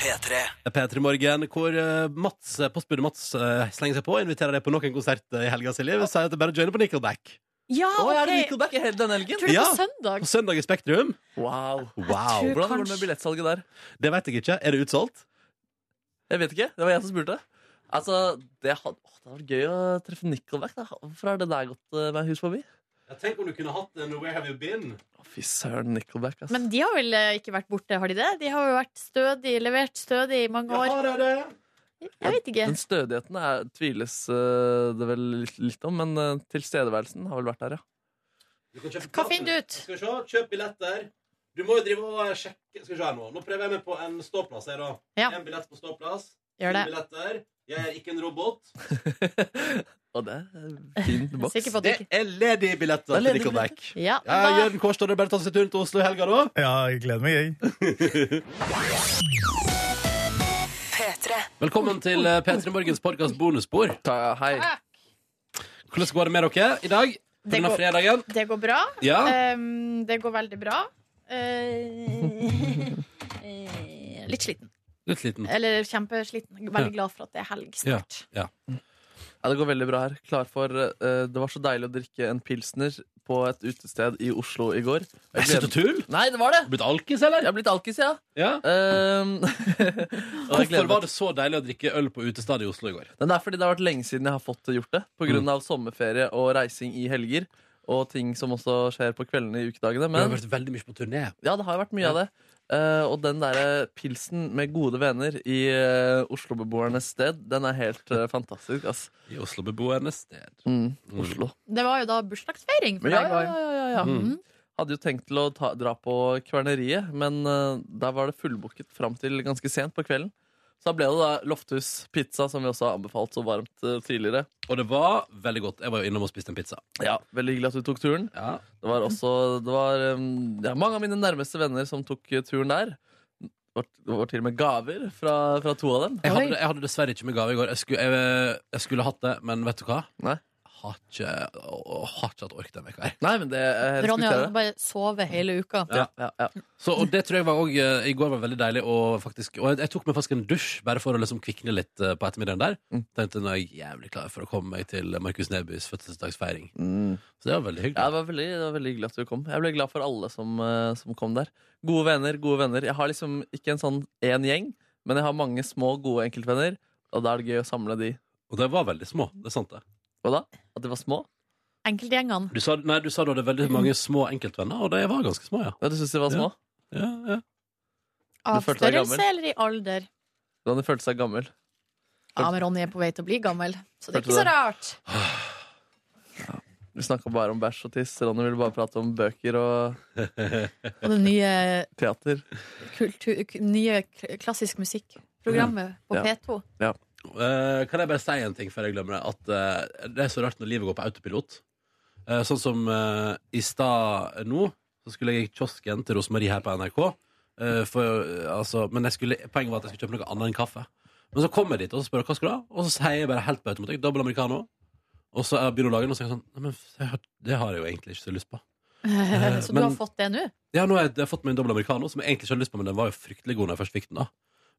P3.
Det er P3 Morgen, hvor eh, Mats, eh, postbudet Mats eh, slenger seg på og inviterer deg på nok en konsert eh, i helga, Silje. Vi sier at det er bare å joine på Nickelback.
Ja,
Å, er det
ok.
Nickelback i hele denne helgen?
Tror du på søndag?
På søndag i Spektrum.
Wow.
Wow.
Hvordan går det med billettsalget der?
Det vet jeg ikke. Er det utsolgt?
Jeg vet ikke. Det var jeg som spurte. Altså, det hadde, åh, det hadde vært gøy å treffe Nickelback. Da. Hvorfor har det der gått eh, meg hus forbi?
Tenk om du kunne hatt en Where Have You Been?
Å, Fy søren, Nickelback, ass.
Men de har vel eh, ikke vært borte, har de det? De har jo vært stødig, levert stødig i mange år. Jeg vet ikke.
Den stødigheten er, tviles eh, det vel litt, litt om, men eh, tilstedeværelsen har vel vært der, ja.
Hva finner du ut?
Skal vi se, Kjøp billetter. Du må jo drive og eh, sjekke Skal vi se her nå. Nå prøver jeg meg på en ståplass her, da.
Ja.
En billett på ståplass.
Gjør
Fem
det.
Billetter. Jeg er ikke en robot.
Og det er fin boks.
Sikker på at du ikke
er ledige billetter
Det er ledige
til Nickelback.
Ja,
Ja,
da,
Jørgen Kårstad, det er bare å ta seg turen til Oslo i helga, da.
Ja, jeg gleder meg, jeg.
Velkommen til eh, P3 Morgens podkast bonusspor.
Hei.
Hvordan går det med dere i dag? På
Det
grunn av
går-
fredagen?
Det går bra.
Ah.
Ja.
Ehm, det går veldig bra. Eh, eh, litt sliten.
Litt sliten.
Eller kjempesliten. Veldig glad for at det er helg snart.
Ja.
det går veldig bra her. Klar for eh, Det var så deilig å drikke en pilsner på et utested i Oslo i går. Jeg
slutt å tulle!
Nei, det var det!
Blitt alkis, eller?
Jeg har blitt alkis, ja. Ehm, og jeg gleder
Hvorfor
meg
var det så deilig å drikke øl på utestedet i Oslo i går?
Men det er fordi det har vært lenge siden jeg har fått gjort det. På grunn av sommerferie og reising i helger. Og ting som også skjer på kveldene i ukedagene.
Du har
Men
vært veldig mye på turné.
ja, det har vært mye av det. Eh, og den derre pilsen med gode venner i eh, Oslo-beboernes sted, den er helt eh, fantastisk, ass.
I Oslo-beboernes sted.
Mm, Oslo.
Det var jo da bursdagsfeiring for
Men ja,
deg i
ja,
går.
ja, ja, Mm. ja.
Mhm.
Hadde jo tenkt til å ta, dra på Kverneriet, men eh, der var det fullbooket fram til ganske sent på kvelden. Så da ble det da Lofthus pizza, som vi også har anbefalt så varmt eh, tidligere.
Og det var veldig godt. Jeg var jo innom og spiste en pizza.
Ja, Veldig hyggelig at du tok turen. Det var også det var, um, ja, mange av mine nærmeste venner som tok eh, turen der. Det var, det var til og med gaver fra, fra to av dem.
Jeg hadde, jeg hadde dessverre ikke med gave i går. Jeg skulle, jeg, jeg skulle hatt det, men vet du hva?
Nei.
Har ikke, å, har ikke hatt ork denne uka her.
Nei, men det jeg
Ronja hadde bare sove hele uka.
Ja. Så, og det tror jeg var også, eh, I går var veldig deilig. Og, faktisk, og jeg, jeg tok meg faktisk en dusj bare for å liksom kvikne litt eh, på ettermiddagen der. Tenkte nå er jeg jævlig klar for å komme meg til Markus Nebys fødselsdagsfeiring. Så det var veldig hyggelig.
Ja, det, var veldig, det var veldig hyggelig at du kom. Jeg ble glad for alle som, eh, som kom der. Gode venner, gode venner. Jeg har liksom ikke en sånn én gjeng, men jeg har mange små, gode enkeltvenner. Og da er det gøy å samle de.
Og de var veldig små. Det er sant, det.
Hva da? At de var små?
Enkeltgjengene.
Du sa, nei, du sa du hadde veldig mange små enkeltvenner, og de var ganske små, ja.
Du syns de var små?
Ja, ja.
Av
følte deg
størrelse
gammel?
eller i alder?
Da de følte seg gammel.
Ja, men Ronny er på vei til å bli gammel, så det er
Følte
ikke så
det.
rart.
Vi snakka bare om bæsj og tiss. Ronny ville bare prate om bøker og
Og det nye,
teater.
kultur, k- nye k- klassisk musikk-programmet
Mm.
på
Ja.
P2.
Eh, kan jeg bare si en ting før jeg glemmer det? At eh, det er så rart når livet går på autopilot. Eh, sånn som eh, i stad nå, så skulle jeg i kiosken til Rosemarie her på NRK. eh, for, eh, altså, men jeg skulle, poenget var at jeg skulle kjøpe noe annet enn kaffe. Men så kommer jeg dit og så spør jeg, hva skal du ha, og så sier jeg bare helt på automatikk dobbel americano. Og så eh, begynner hun å lage den, og så er jeg sånn Nei, men jeg har, det har jeg jo egentlig ikke så lyst på. Eh,
Så du har
men-
fått det nå?
Ja, nå har jeg, jeg har fått meg en dobbel americano, som jeg egentlig ikke hadde lyst på, men den var jo fryktelig god når jeg først fikk den. da.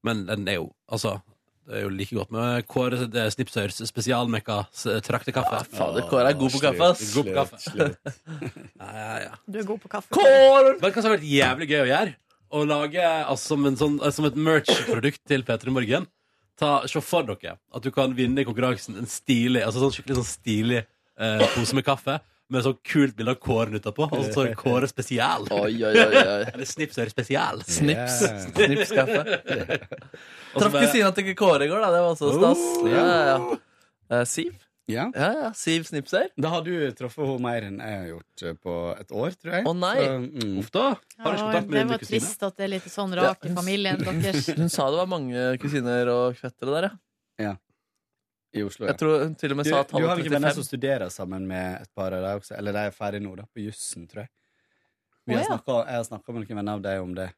Men den er jo altså, det er jo like godt med Kåre det er Snipsøyers spesialmekka s- traktekaffe.
fader, Kåre er god på kaffe, ass.
God på kaffe.
Slutt,
ja, ja, ja.
Du er god på kaffe.
Kåre! Vet du hva som har vært jævlig gøy å gjøre? Å lage altså, som, en sånn, som et merch-produkt til P3 Morgen. Ta, se for dere at du kan vinne i konkurransen en stilig, altså sånn skikkelig sånn stilig eh, pose med kaffe. Med sånn kult bilde av Kåren utapå, og så står det Kåre spesial.
Oi, oi, oi, oi.
Eller Snipsøyr spesial.
Snips. Snipskaffe.
Og så
Traff
bare-
ikke Sina til Kåre i går, da. Det var
Oh.
så stas. Ja, ja, ja. Eh, Siv?
Ja.
ja, Siv Snipser.
Da har du truffet henne mer enn jeg har gjort eh, på et år, tror jeg.
Å, nei.
mm.
Uff da.
Ja, det var trist at det er litt sånn rak i familien deres.
Hun sa det var mange kusiner og fettere der, ja.
Ja. I Oslo, ja.
Jeg tror hun til og med
Du,
sa at
du har
halv
ikke venner som
35
studerer sammen med et par av deg også? Eller de er ferdig nå, da. På jussen, tror jeg. Vi har
Å, ja. Mm,
snakket, jeg har snakka med noen venner av deg om det.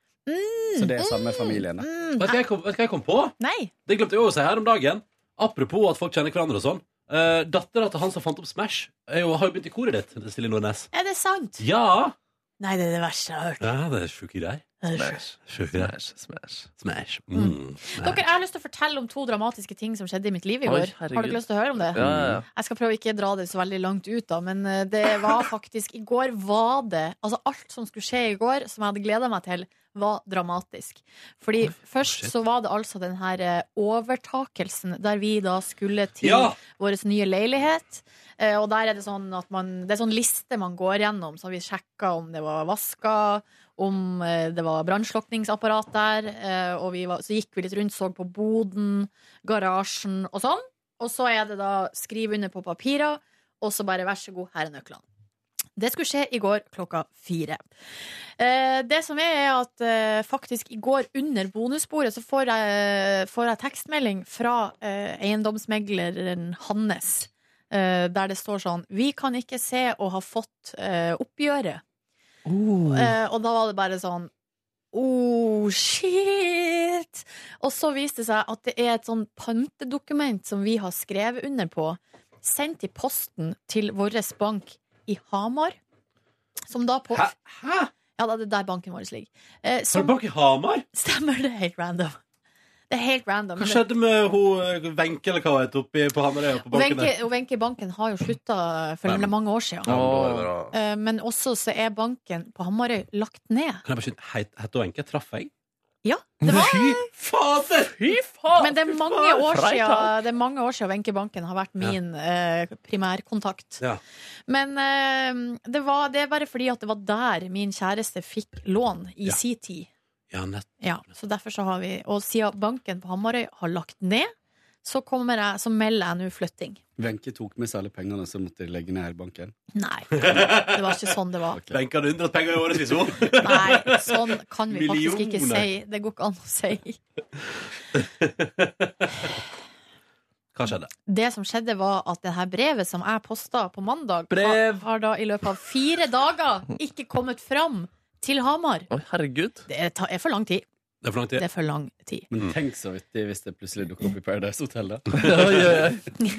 Så det er samme familien, da.
Mm.
Vet du hva jeg kom- vet du hva jeg kom på? Det glemte jeg også å si her om dagen. Apropos at folk kjenner hverandre og sånn. Uh, Dattera til han som fant opp Smash, er jo, har jo begynt i koret ditt, Silje Nordnes.
Er det sant?
Ja!
Nei, det er det verste jeg har hørt.
ja det er sjuke greier.
Smash.
Sjuke greier.
Smash.
Smash. Mm.
Dere, Jeg har lyst til å fortelle om to dramatiske ting som skjedde i mitt liv i
Oi,
går. Har
herregud.
dere lyst til å høre om det?
Ja, ja, ja.
Jeg skal prøve ikke å dra det så veldig langt ut, da, men eh, det var faktisk I går var det Altså, alt som skulle skje i går, som jeg hadde gleda meg til, var dramatisk. Fordi først så var det altså den her eh, overtakelsen, der vi da skulle til
Ja!
vår nye leilighet. Eh, Og der er det sånn at man Det er sånn liste man går gjennom, så har vi sjekka om det var vaska. Om eh, det var brannslukningsapparat der. eh, Og vi var, så gikk vi litt rundt, så på boden, garasjen og sånn. Og så er det da skriv under på papirer, og så bare vær så god, her er nøklene. Det skulle skje i går klokka fire. Eh, det som er, er at eh, faktisk i går under bonussporet så får jeg, eh, får jeg tekstmelding fra eh, eiendomsmegleren Hannes, eh, der det står sånn Vi kan ikke se å ha fått eh, oppgjøret.
Oh.
Eh, og da var det bare sånn Oh, shit! Og så viste det seg at det er et sånn pantedokument som vi har skrevet under på, sendt i posten til vår bank i Hamar. Som da på Hæ? Ja, det er der banken vår ligger. Eh,
Har du bak i Hamar?
Stemmer, det er helt random. Det er helt random.
Hva skjedde med hun Wenche eller hva hun het oppi på Hamarøy og på banken
Wenche,
der?
og Wenche Banken har jo slutta for
Nei.
mange år siden.
Ja, men da er det bra.
Eh, Men også så er banken på Hamarøy lagt ned.
Kan jeg bare skynde het- Hette hun Wenche? Traff jeg?
Ja, det var
Fy fader!
Fy
Men det er mange
faen,
år
freitak.
siden, det er mange år siden Wenche Banken har vært min eh, primærkontakt.
Ja.
Men eh, det, var, det er bare fordi at det var der min kjæreste fikk lån i
Ja.
si tid.
ja, nett.
Ja, så derfor så har vi Og siden banken på Hamarøy har lagt ned, så, kommer jeg, så melder jeg nå flytting.
Wenche tok med seg alle pengene, så måtte de legge ned hele banken.
Nei, det var ikke sånn det var.
Wenche hadde unndratt penger i året, hvis hun
Nei, sånn kan vi faktisk ikke
Millioner.
si. Det går ikke an å si.
Hva skjedde?
Det som skjedde, var at det her brevet som jeg posta på mandag,
Brev!
har, har da i løpet av fire dager ikke kommet fram til Hamar.
Oi, herregud.
Det er, ta- er for lang tid.
Det er for lang
Det er for lang tid.
Men tenk så vittig hvis det plutselig dukker opp i Paradise Hotel, da.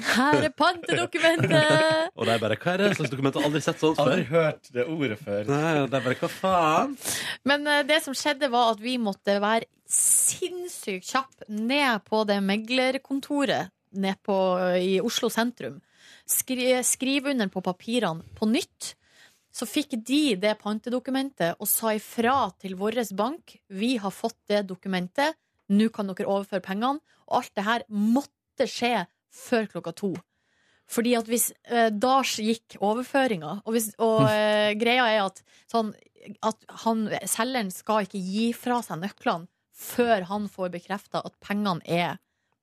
Her er pantedokumentet!
Og de bare Hva er det slags dokument? Jeg har Aldri sett sånt før.
Aldri hørt det ordet før.
Nei, det er bare Hva faen?
Men eh, det som skjedde, var at vi måtte være sinnssykt kjapp ned på det meglerkontoret ned på, eh, i Oslo sentrum. Skri, skriv under på papirene på nytt. Så fikk de det pantedokumentet og sa ifra til vår bank. Vi har fått det dokumentet, nå kan dere overføre pengene. Og alt det her måtte skje før klokka to. Fordi at hvis eh, Da gikk overføringa. Og, hvis, og eh, greia er at, sånn, at han, selgeren skal ikke gi fra seg nøklene før han får bekrefta at pengene er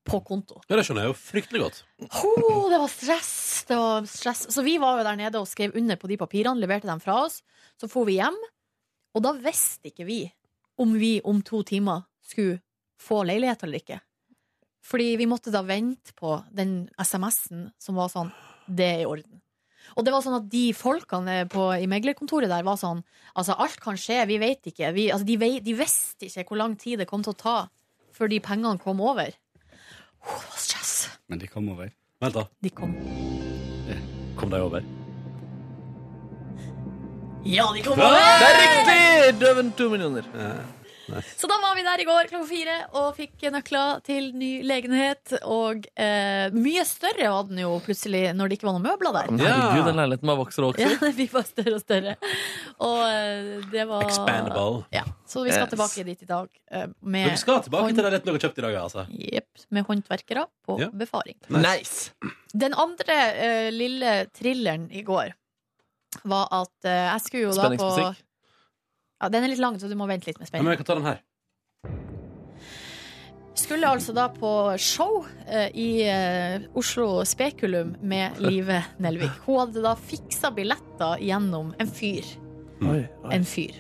på konto.
Ja, det skjønner jeg jo fryktelig godt.
Ho, det var stress! Det var stress. Så vi var jo der nede og skrev under på de papirene, leverte dem fra oss. Så for vi hjem, og da visste ikke vi om vi om to timer skulle få leilighet eller ikke. Fordi vi måtte da vente på den SMS-en som var sånn Det er i orden. Og det var sånn at de folkene på, i meglerkontoret der var sånn Altså, alt kan skje, vi vet ikke. Vi, altså, de, vei, de visste ikke hvor lang tid det kom til å ta før de pengene kom over. Ho, det var stress.
Men de kom over.
Vent, da.
De kom.
Kom de over?
Ja, de kom
Det
over!
er riktig! Døven to millioner.
Så da var vi der i går klokka fire og fikk nøkler til ny legenhet. Og eh, mye større var den jo plutselig når det ikke var noen møbler der.
Men Herregud, den leiligheten bare vokser og
Ja,
vokser.
vi var større og større. Og eh, det var
Expandable.
Ja, så vi skal
Yes.
tilbake dit i dag eh,
Men
med,
vi skal tilbake til den retten dere har kjøpt i dag, altså.
Jepp, med håndverkere på
Ja.
befaring.
Nice.
Den andre eh, lille thrilleren i går var at eh, jeg skulle jo da på
Spenningsmusikk.
Ja, den er litt lang, så du må vente litt med
Ja, men
spenning.
jeg kan ta den her.
Skulle altså da på show eh, i eh, Oslo Spekulum med Live Nelvik. Hun hadde da fiksa billetter gjennom en fyr.
Mm.
En fyr.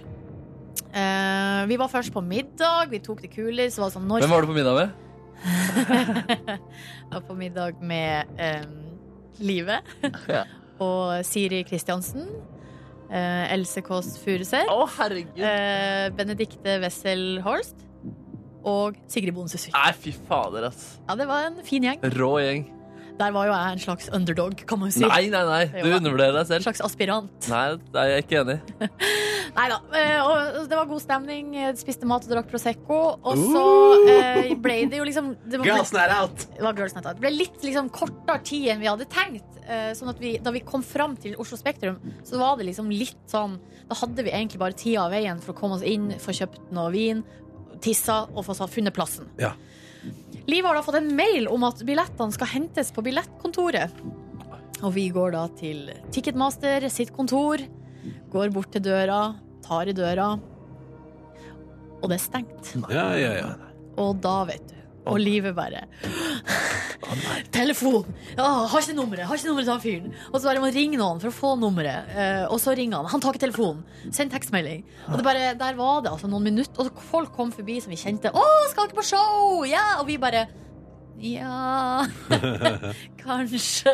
Eh, vi var først på middag, vi tok det kulig. Så var det sånn når
Hvem var du på middag med?
var på middag med eh, Live og Siri Kristiansen. eh, Else Kåss Furuseth. eh, Benedikte Wessel Holst. Og Sigrid Bonde Tusvik.
Nei, fy fader, ass.
Ja, det var en fin gjeng.
Rå gjeng.
Der var jo jeg en slags underdog, kan man jo si.
Nei, nei, nei. Du
Jo,
undervurderer deg selv.
En slags aspirant.
Nei, nei, jeg er ikke enig.
Nei da. Eh, Og det var god stemning. eh, Spiste mat og drakk Prosecco. Og så eh, ble det jo liksom det var,
Girls night out.
Det var girls night out. Det ble litt liksom kortere tid enn vi hadde tenkt. eh, Sånn at vi, Da vi kom fram til Oslo Spektrum, så var det liksom litt sånn Da hadde vi egentlig bare tida av veien for å komme oss inn, få kjøpt noe vin, tissa og få funnet plassen.
Ja.
Liv har da fått en mail om at billettene skal hentes på billettkontoret. Og vi går da til Ticketmaster sitt kontor, går bort til døra, tar i døra, og det er stengt.
Ja, ja, ja.
Og da, vet du. Og livet bare Telefon! Ja, har ikke nummeret har ikke nummeret til han fyren. Og så bare må ringe noen for å få nummeret. Eh, og så ringer han. Han tar ikke telefonen. Send tekstmelding. Og det bare, der var det altså noen minutter, og folk kom forbi som vi kjente. 'Å, skal ikke på show?' Ja! Og vi bare Ja, kanskje.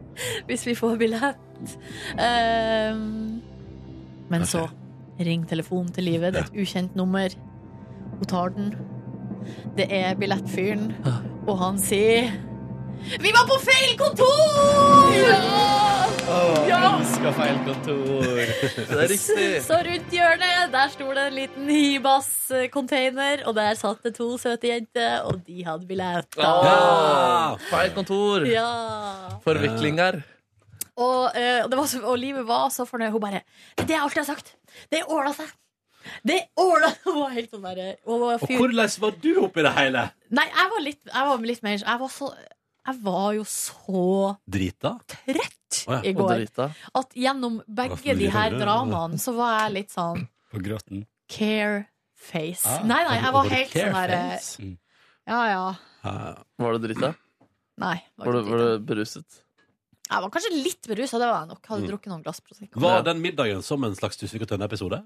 Hvis vi får billett. Eh, men så ring telefonen til livet. Det er et ukjent nummer. Hun tar den. Det er billettfyren, og han sier Vi var på feil kontor! Ja!
Elsker feil kontor.
Det er riktig.
Så rundt hjørnet, der sto det en liten Hibas-container, og der satt det to søte jenter, og de hadde billetter.
Ah, feil kontor.
Ja.
Forviklinger.
Og, eh, og det var så, og livet var så fornøyd. Hun bare Det er det jeg alltid har sagt. Det ordna seg. Det ordna Hun var helt sånn derre Hun var
Og
fyr.
hvordan var du oppi det hele?
Nei, jeg var litt, jeg var litt mer jeg var, så, jeg var jo så
Drita?
trett
Å ja,
i
og
går
drita.
at gjennom begge
Hvorfor
de her
driver du?
dramaene så var jeg litt sånn
På gråten.
careface.
Ah,
nei, nei, jeg var
var det
helt sånn derre
careface? Mm.
Ja, ja.
Ah.
Var det drita?
Nei. det
Var
Var
du,
ikke
var
dritt.
du beruset?
Jeg var kanskje litt berusa, det var jeg nok. Hadde
Mm.
drukket noen glass prosecco.
Var den middagen som en slags Tusvik og Tønne-episode?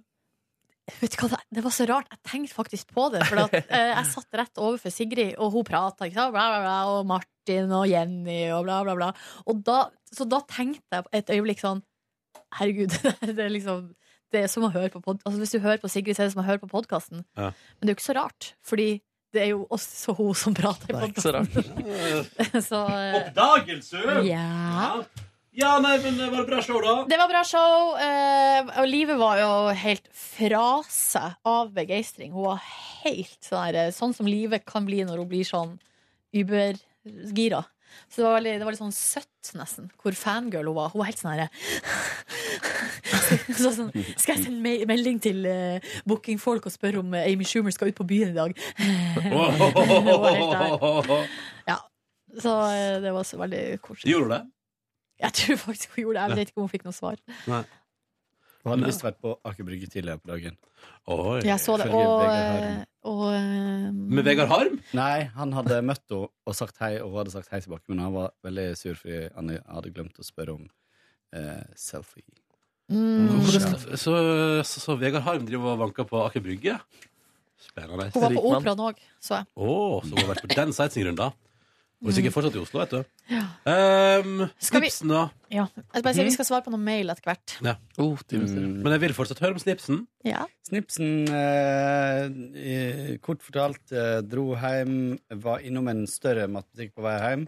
Vet du hva, det- det var så rart. Jeg tenkte faktisk på det. For at, eh, jeg satt rett overfor Sigrid, og hun prata, ikke sant? Bla, bla, bla, og Martin og Jenny og bla, bla, bla. Og da, så da tenkte jeg et øyeblikk sånn Herregud, det er liksom Det er som å høre på pod altså, Hvis du hører på Sigrid, så er det som å høre på podkasten.
Ja.
Men det er jo ikke så rart, fordi det er jo også hun som prater i
ikke så
podkasten. Så eh,
Oppdagelse!
ja.
Ja, nei, men det var et bra show, da.
Det var bra show, eh, og livet var jo helt fra seg av begeistring. Hun var helt sånn, her, eh, sånn som livet kan bli når hun blir sånn ubergira. Så det var, veldig, det var litt sånn søtt, nesten, hvor fangirl hun var. Hun var helt sånn herre så, sånn, Skal jeg sende me melding til eh, bookingfolk og spørre om eh, Amy Schumer skal ut på byen i dag? Hun var helt der. ja. Så eh, det var så veldig koselig.
Gjorde du det?
Jeg tror faktisk hun gjorde det. Jeg vet ikke om hun fikk noe svar.
Nei.
Hun hadde visst vært på Aker Brygge tidligere på dagen.
Oi.
Jeg så det.
Ifølge
Og,
Vegard Harm.
og eh,
Med Vegard Harm?
Nei, han hadde møtt henne og sagt hei, og hun hadde sagt hei tilbake, men han var veldig sur fordi han hadde glemt å spørre om eh, selfie.
Mm.
Mm.
Hvordan- Så, så, så Vegard Harm driver og vanker på Aker Brygge? Spennende.
hun var på operaen òg, så jeg.
Å, så hun har vært på den sightseeingrunden, da. Og hvis ikke fortsatt i Oslo, vet du.
Ja.
Um,
Skal vi-
slipsen, da.
Ja. Mhm. Jeg bare sier, vi skal svare på noen mail etter hvert.
Ja.
Oh,
Mm. Men jeg vil fortsatt høre om slipsen.
Ja.
Snipsen, eh, eh, kort fortalt, eh, dro hjem, var innom en større matbutikk på vei hjem.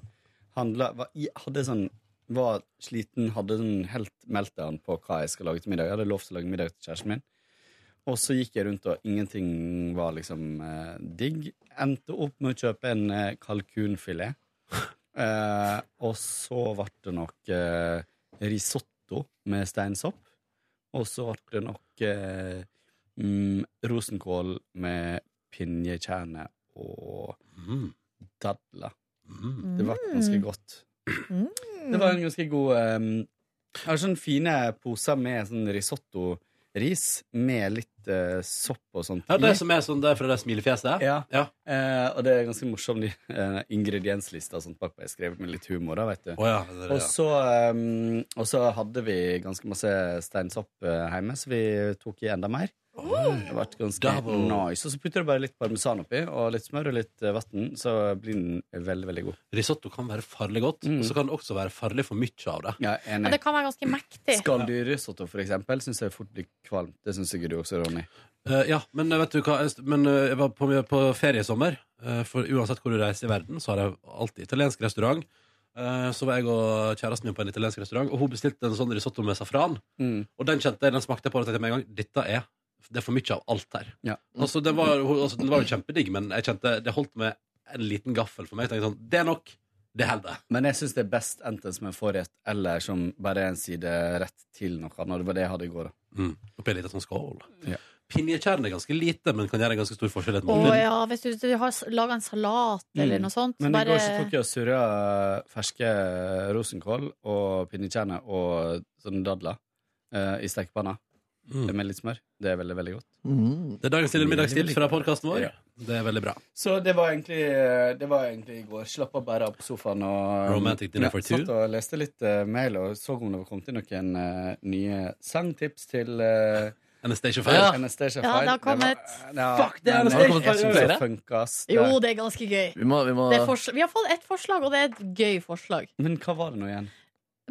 Handla, var, i- hadde sånn, var sliten, hadde sånn helt meltdown på hva jeg skal lage til middag. Jeg hadde lovt å lage middag til kjæresten min. Og så gikk jeg rundt, og ingenting var liksom eh, digg. Endte opp med å kjøpe en eh, kalkunfilet. Eh, og så ble det nok eh, risotto med steinsopp. Og så ble det nok eh, mm, rosenkål med pinjekjerne og
Mm,
dadler. Det ble ganske godt. Det var en ganske god um, Jeg har sånne fine poser med sånn risotto-ris med litt eh, sopp og sånt
Ja, det som er sånn der fra det smilefjeset?
Ja. Eh, og det er ganske morsomt, de eh, ingredienslista og sånt bakpå. Jeg skrev med litt humor, da, vet du.
Å ja, det er det, ja.
Og så, eh, og så hadde vi ganske masse steinsopp eh, hjemme, så vi tok i enda mer. Det ble ganske
Double.
nice. Og så putter du bare litt parmesan oppi, og litt smør og litt eh, vann, så blir den veldig, veldig god.
Risotto kan være farlig godt, og så kan det også være farlig for mye av det.
Ja,
Men
enig.
det kan være ganske mektig.
Skalldyrrisotto, for eksempel, syns jeg fort blir kvalmt. Det syns sikkert du også, Ronny.
Eh, ja, men eh, vet du hva? Jeg st- Men eh, jeg var på, på ferie i sommer. eh, for uansett hvor du reiser i verden, så har jeg alltid italiensk restaurant. Eh, så var jeg og kjæresten min på en italiensk restaurant, og hun bestilte en sånn risotto med safran.
Mm.
Og den kjente jeg, den smakte jeg på og tenkte med en gang Dette er det er for mye av alt her.
Ja.
Altså, den, var, hun- altså, den var jo kjempedigg, men jeg kjente det holdt med en liten gaffel for meg. Jeg tenkte sånn, Det er nok. Det holder.
Men jeg syns det er best enten som en forrett eller som bare en side rett til noe annet. Det var det jeg hadde i går. da.
Mm. Oppi en liten sånn skål.
Ja.
Pinjekjernen er ganske lite, men kan gjøre en ganske stor forskjell. i et
Å
måltid.
ja, hvis du, du har laga en salat eller
Mm.
noe sånt,
Men i
bare
går så tok jeg og surra ferske rosenkål og pinnekjerne og sånne dadler eh, i stekepanna
Mm.
med litt smør. Det er veldig, veldig godt.
Mm.
Det er dagens lille middagstips fra podkasten vår.
Ja.
Det er veldig bra.
Så det var egentlig, det var egentlig i går. Slappa bare av på sofaen og eh,
Romantic dinner for two.
Satt og leste litt eh, mail og så om det var kommet inn noen eh, nye sangtips til uh,
Anastacia
Ja,
Fire.
Anastasia
Ja, det har
Fire.
kommet.
var- ja,
Fuck, det er
men
Anastasia
jeg synes
Fire.
det funka, ass. Det-
Jo, det er ganske gøy.
Vi må, vi må
Det er fors- vi har fått ett forslag, og det er et gøy forslag.
Men hva var det nå igjen?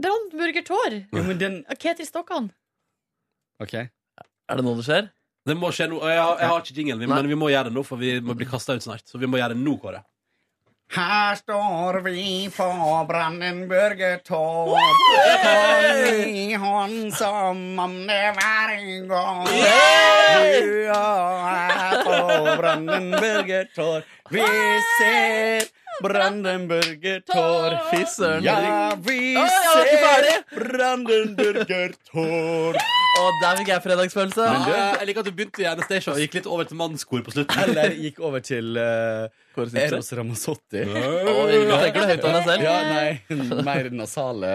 Brannburger Tår.
Jo, men den
av Ketil Stokkan.
OK.
Er det nå det skjer?
Det må skje nå. Jeg har, jeg har ikke jingle, men vi må gjøre det nå, for vi må bli kasta ut snart. Så vi må gjøre det nå, Kåre.
Her står vi på Brandenburger Tor. Hånd i hånd som om det var i går. Du og jeg på Brandenburger Tor. Vi ser Brandenburger Tor.
Fy søren.
Ja, vi ser Brandenburger Tor.
Og der fikk jeg fredagsfølelse.
Men du, Ah, jeg liker at du begynte i Anastacia og gikk litt over til mannskor på slutten.
Eller gikk over til eh, Eros Ramazzotti.
Oi, nå tenker du høyt om deg selv.
Ja, nei, mer nasale.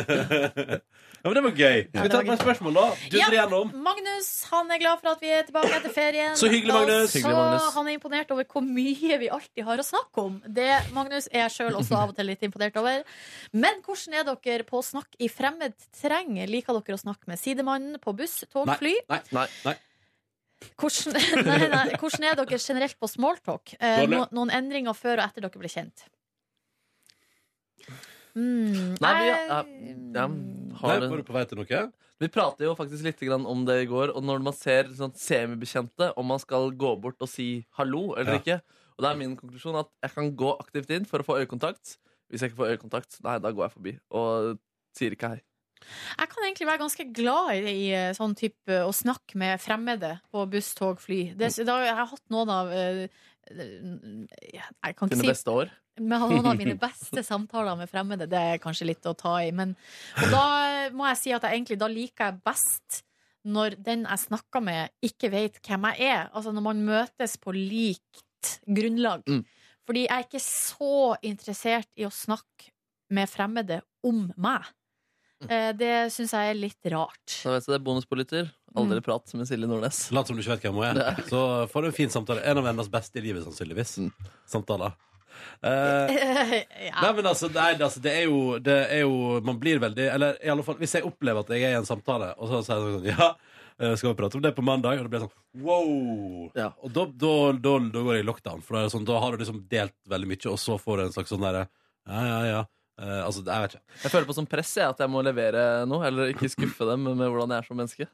ja, men det var gøy. Skal vi ta et par spørsmål, da? Du drar gjennom.
Magnus han er glad for at vi er tilbake etter ferien.
Så hyggelig, Magnus.
Så
Hyggelig, Magnus.
Han er imponert over hvor mye vi alltid har å snakke om. Det Magnus, er jeg sjøl også av og til litt imponert over. Men hvordan er dere på å snakke i fremmed terreng? Liker dere å snakke med sidemannen på buss, tog, fly?
Nei, nei, nei.
Hvordan, nei, nei, hvordan er dere generelt på smalltalk? Eh,
Dårlig.
no, noen endringer før og etter dere ble kjent? Mm,
Nei, vi,
jeg-
ja, ja, har en- Vi pratet jo faktisk litt grann om det i går, og når man ser sånn semibekjente, om man skal gå bort og si hallo eller ikke. Og det er min konklusjon at jeg kan gå aktivt inn for å få øyekontakt. Hvis jeg ikke får øyekontakt, nei, da går jeg forbi og sier ikke hei.
Jeg kan egentlig være ganske glad i, i eh, sånn type å snakke med fremmede på buss, tog, fly. Det, da, jeg har hatt noen av eh, Jeg kan ikke
Dine
si
beste år.
Men noen av mine beste samtaler med fremmede, det er kanskje litt å ta i. Men, og da må jeg si at jeg egentlig da liker jeg best når den jeg snakker med, ikke vet hvem jeg er. Altså når man møtes på likt grunnlag. Fordi jeg er ikke så interessert i å snakke med fremmede om meg. Eh, Det syns jeg er litt rart.
Så vet du det, bonuspoliter. Aldri prat med Silje Nordnes.
Lat som du ikke vet hvem hun er. Så får du en fin samtale. En av hennes beste i livet, sannsynligvis. Samtaler. Eh,
ja.
Nei, men altså, nei, det- altså det, er jo, det er jo Man blir veldig Eller i alle fall, hvis jeg opplever at jeg er i en samtale, og så sier jeg sånn Ja, eh, skal vi prate om det på mandag? Og det blir sånn wow! Og da, da, da, da går jeg i lockdown, for da, er det sånn, da har du liksom delt veldig mye, og så får du en slags sånn derre Ja, ja, ja. Eh, altså, jeg vet ikke.
Jeg føler på som press jeg, at jeg må levere noe, eller ikke skuffe dem med hvordan jeg er som menneske.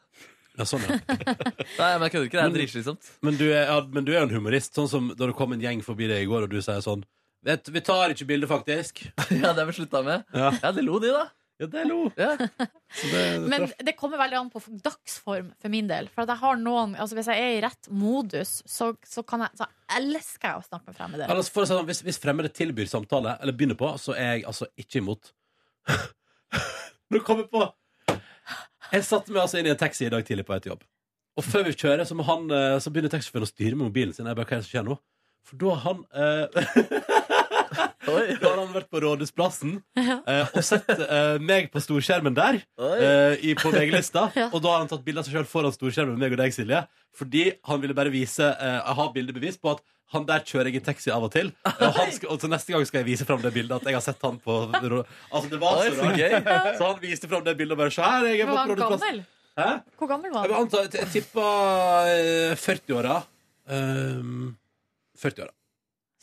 Ja, sånn, ja.
Nei, men jeg kødder ikke. Det er
Men-
dritslitsomt.
Men du, er, ja, men du er jo en humorist, sånn som da det kom en gjeng forbi deg i går, og du sier sånn Vet, du, Vi tar ikke bilde, faktisk.
ja, det har vi slutta med.
Ja.
det lo de, da.
Ja, det lo. Så det, det
Men
traff.
det kommer veldig an på dagsform for min del. For at jeg har noen, altså Hvis jeg er i rett modus, så, så, kan jeg, så elsker jeg å snakke med fremmede.
Ellers, for å si det sånn, hvis, hvis fremmede tilbyr samtale, eller begynner på, så er jeg altså ikke imot. Nå kom jeg på Jeg satte meg altså inn i en taxi i dag tidlig på vei til jobb. Og før vi kjører, så, må han, eh, så begynner taxisjåføren å styre med mobilen sin. Jeg bare, hva er det som skjer nå? For da har han eh, Da har han vært på Rådhusplassen eh, og sett eh, meg på storskjermen der.
Oi.
eh, i, på VG-lista. Og da har han tatt bilde av seg sjøl foran storskjermen med meg og deg, Silje. Fordi han ville bare vise eh, Jeg har bildebevis på at han der kjører jeg i taxi av og til. Og, han skal, og så neste gang skal jeg vise fram det bildet at jeg har sett han på Altså, det var
Oi,
så
så
rart.
gøy.
Så han viste fram det bildet og bare Se her, jeg er på
Var han
Rådhusplassen.
gammel?
Hæ?
Hvor gammel var
Jeg
han?
antar Jeg tippa 40-åra. Ehm, 40-åra.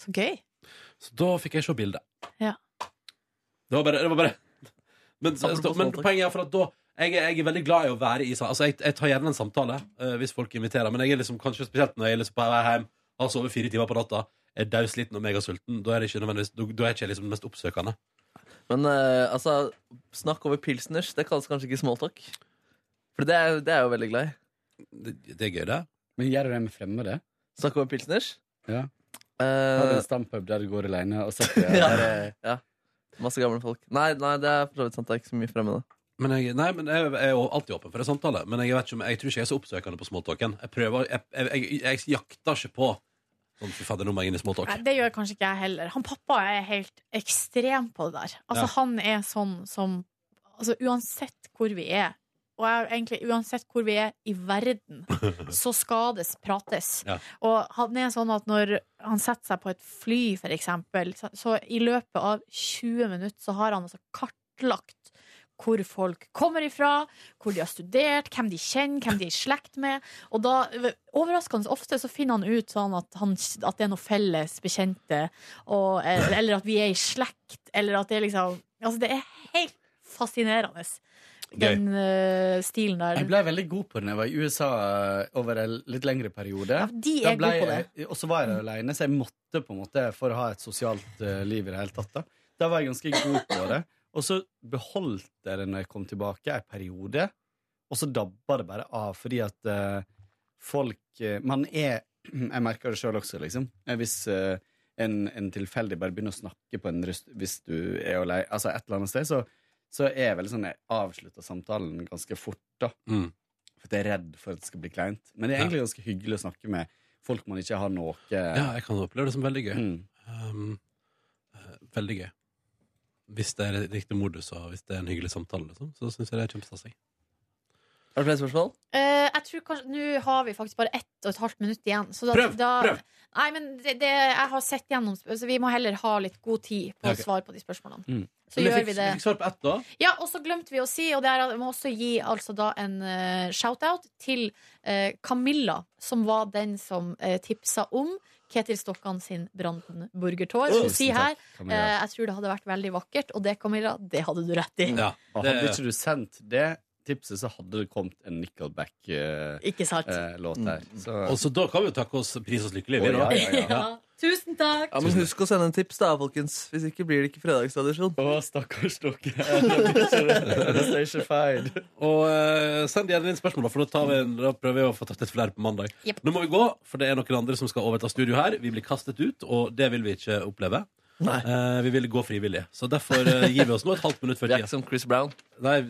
Så gøy.
Så da fikk jeg se bildet.
Ja.
Det var bare, det var bare. Men, så,
Apropos
men
smalltalk.
poenget er for at da jeg er, jeg er veldig glad i å være i sa- altså, jeg, jeg tar gjerne en samtale eh, hvis folk inviterer, men jeg er liksom kanskje spesielt når jeg er liksom på vei hjem, har sovet fire timer på natta, er dausliten og megasulten. Da er det ikke nødvendigvis Da, da er ikke jeg liksom den mest oppsøkende.
Men eh, altså, snakk over pilsners, det kalles kanskje ikke smalltalk? For det er, det er jeg jo veldig glad i.
Det, er gøy, det.
Men gjør du det med fremmede?
Snakk over pilsners?
Ja.
Eh,
Har du en stampub der du går alene og setter deg
ja.
der?
ja. Masse gamle folk. Nei, nei, det er for så vidt sant. Det er ikke så mye fremmede.
Men jeg, nei, men jeg, jeg er jo alltid åpen for en samtale, men jeg, vet ikke om, jeg tror ikke jeg er så oppsøkende på smalltalken. Jeg, prøver- jeg, jeg, jeg, jeg jakter ikke på sånn fy fader, nå må jeg inn i smalltalk.
Nei, det gjør kanskje ikke jeg heller. Han pappa er helt ekstrem på det der. Altså,
Ja.
han er sånn som Altså, uansett hvor vi er, og jeg, egentlig uansett hvor vi er i verden, så skal det prates.
Ja.
Og han er sånn at når han setter seg på et fly, for eksempel, så, så i løpet av 20 minutter så har han altså kartlagt hvor folk kommer ifra, hvor de har studert, hvem de kjenner, hvem de er i slekt med. Og da, overraskende ofte, så finner han ut sånn at, han, at det er noe felles bekjente, og, eller at vi er i slekt, eller at det er liksom Altså, det er helt fascinerende. den eh, stilen der.
Jeg ble veldig god på den jeg var i USA eh, over en litt lengre periode.
de
Da
er
ble
gode på
jeg- Og så var jeg alene, så jeg måtte på en måte for å ha et sosialt eh, liv i det hele tatt. Da, da var jeg ganske god på det. Og så beholdt jeg det når jeg kom tilbake, en periode. Og så dabba det bare av, fordi at eh, folk eh, Man er Jeg merker det sjøl også, liksom. Eh, Hvis eh, en, en tilfeldig bare begynner å snakke på en rust hvis du er alene, altså et eller annet sted, så, så er vel sånn jeg avslutter samtalen ganske fort, da.
Mm.
For at jeg er redd for at det skal bli kleint. Men det er egentlig ganske hyggelig å snakke med folk man ikke har noe eh, hmm,
Ja, jeg kan oppleve det som veldig gøy. Um, eh, veldig gøy. Hvis det er riktig modus, og hvis det er en hyggelig samtale, liksom, så syns jeg det er kjempestasig.
Har du flere spørsmål?
Eh, jeg tror kanskje, Nå har vi faktisk bare ett og et halvt minutt igjen. Så da,
Prøv,
da,
prøv.
Nei, men det, det, jeg har sett gjennom sp- Så vi må heller ha litt god tid på
Ja,
å
ok.
svare på de spørsmålene.
Mm.
Så
Men jeg
gjør
fikk,
vi det.
jeg Fikk svar på ett, da.
Ja, og så glemte vi å si, og det er, jeg må også gi altså da en eh, shout-out til eh, Camilla, som var den som eh, tipsa om Ketil Stokkan sin Brandenburgertår.
Tusen
Hun sier
takk,
her
Camilla.
eh, jeg tror det hadde vært veldig vakkert, og det, Camilla, det hadde du rett i.
Og hadde ikke du sendt det tipset, så hadde det kommet en
Ikke sant.
Nickelback-låt her. Så,
Mm. Og så da kan vi jo takke oss pris oss lykkelig. vi,
Å, ja,
da.
ja, ja.
Ja, Tusen takk!
Ja, men Husk å sende en tips, da, folkens. Hvis ikke blir det ikke fredagstradisjon.
Å, stakkars dere.
Og eh, send gjerne inn spørsmål, da, for da, tar vi, en- da prøver vi å få tatt litt flere på mandag.
Jepp.
Nå må vi gå, for det er noen andre som skal overta studio her. Vi blir kastet ut, og det vil vi ikke oppleve. Eh, vi vil gå frivillig. Så derfor eh, gir vi oss nå et halvt minutt før tida. Vi er ikke
som Chris Brown.
Nei, vi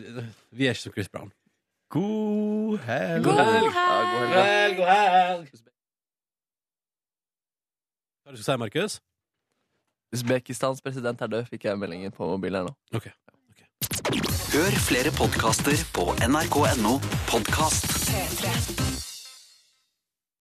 er ikke som Chris Brown.
God helg.
God helg. God helg, god helg. Hva er det du skal si, Markus?
Usbekistans president er død, fikk jeg meldingen på mobilen her nå.
Hør flere podkaster på nrk.no podkast.
P3.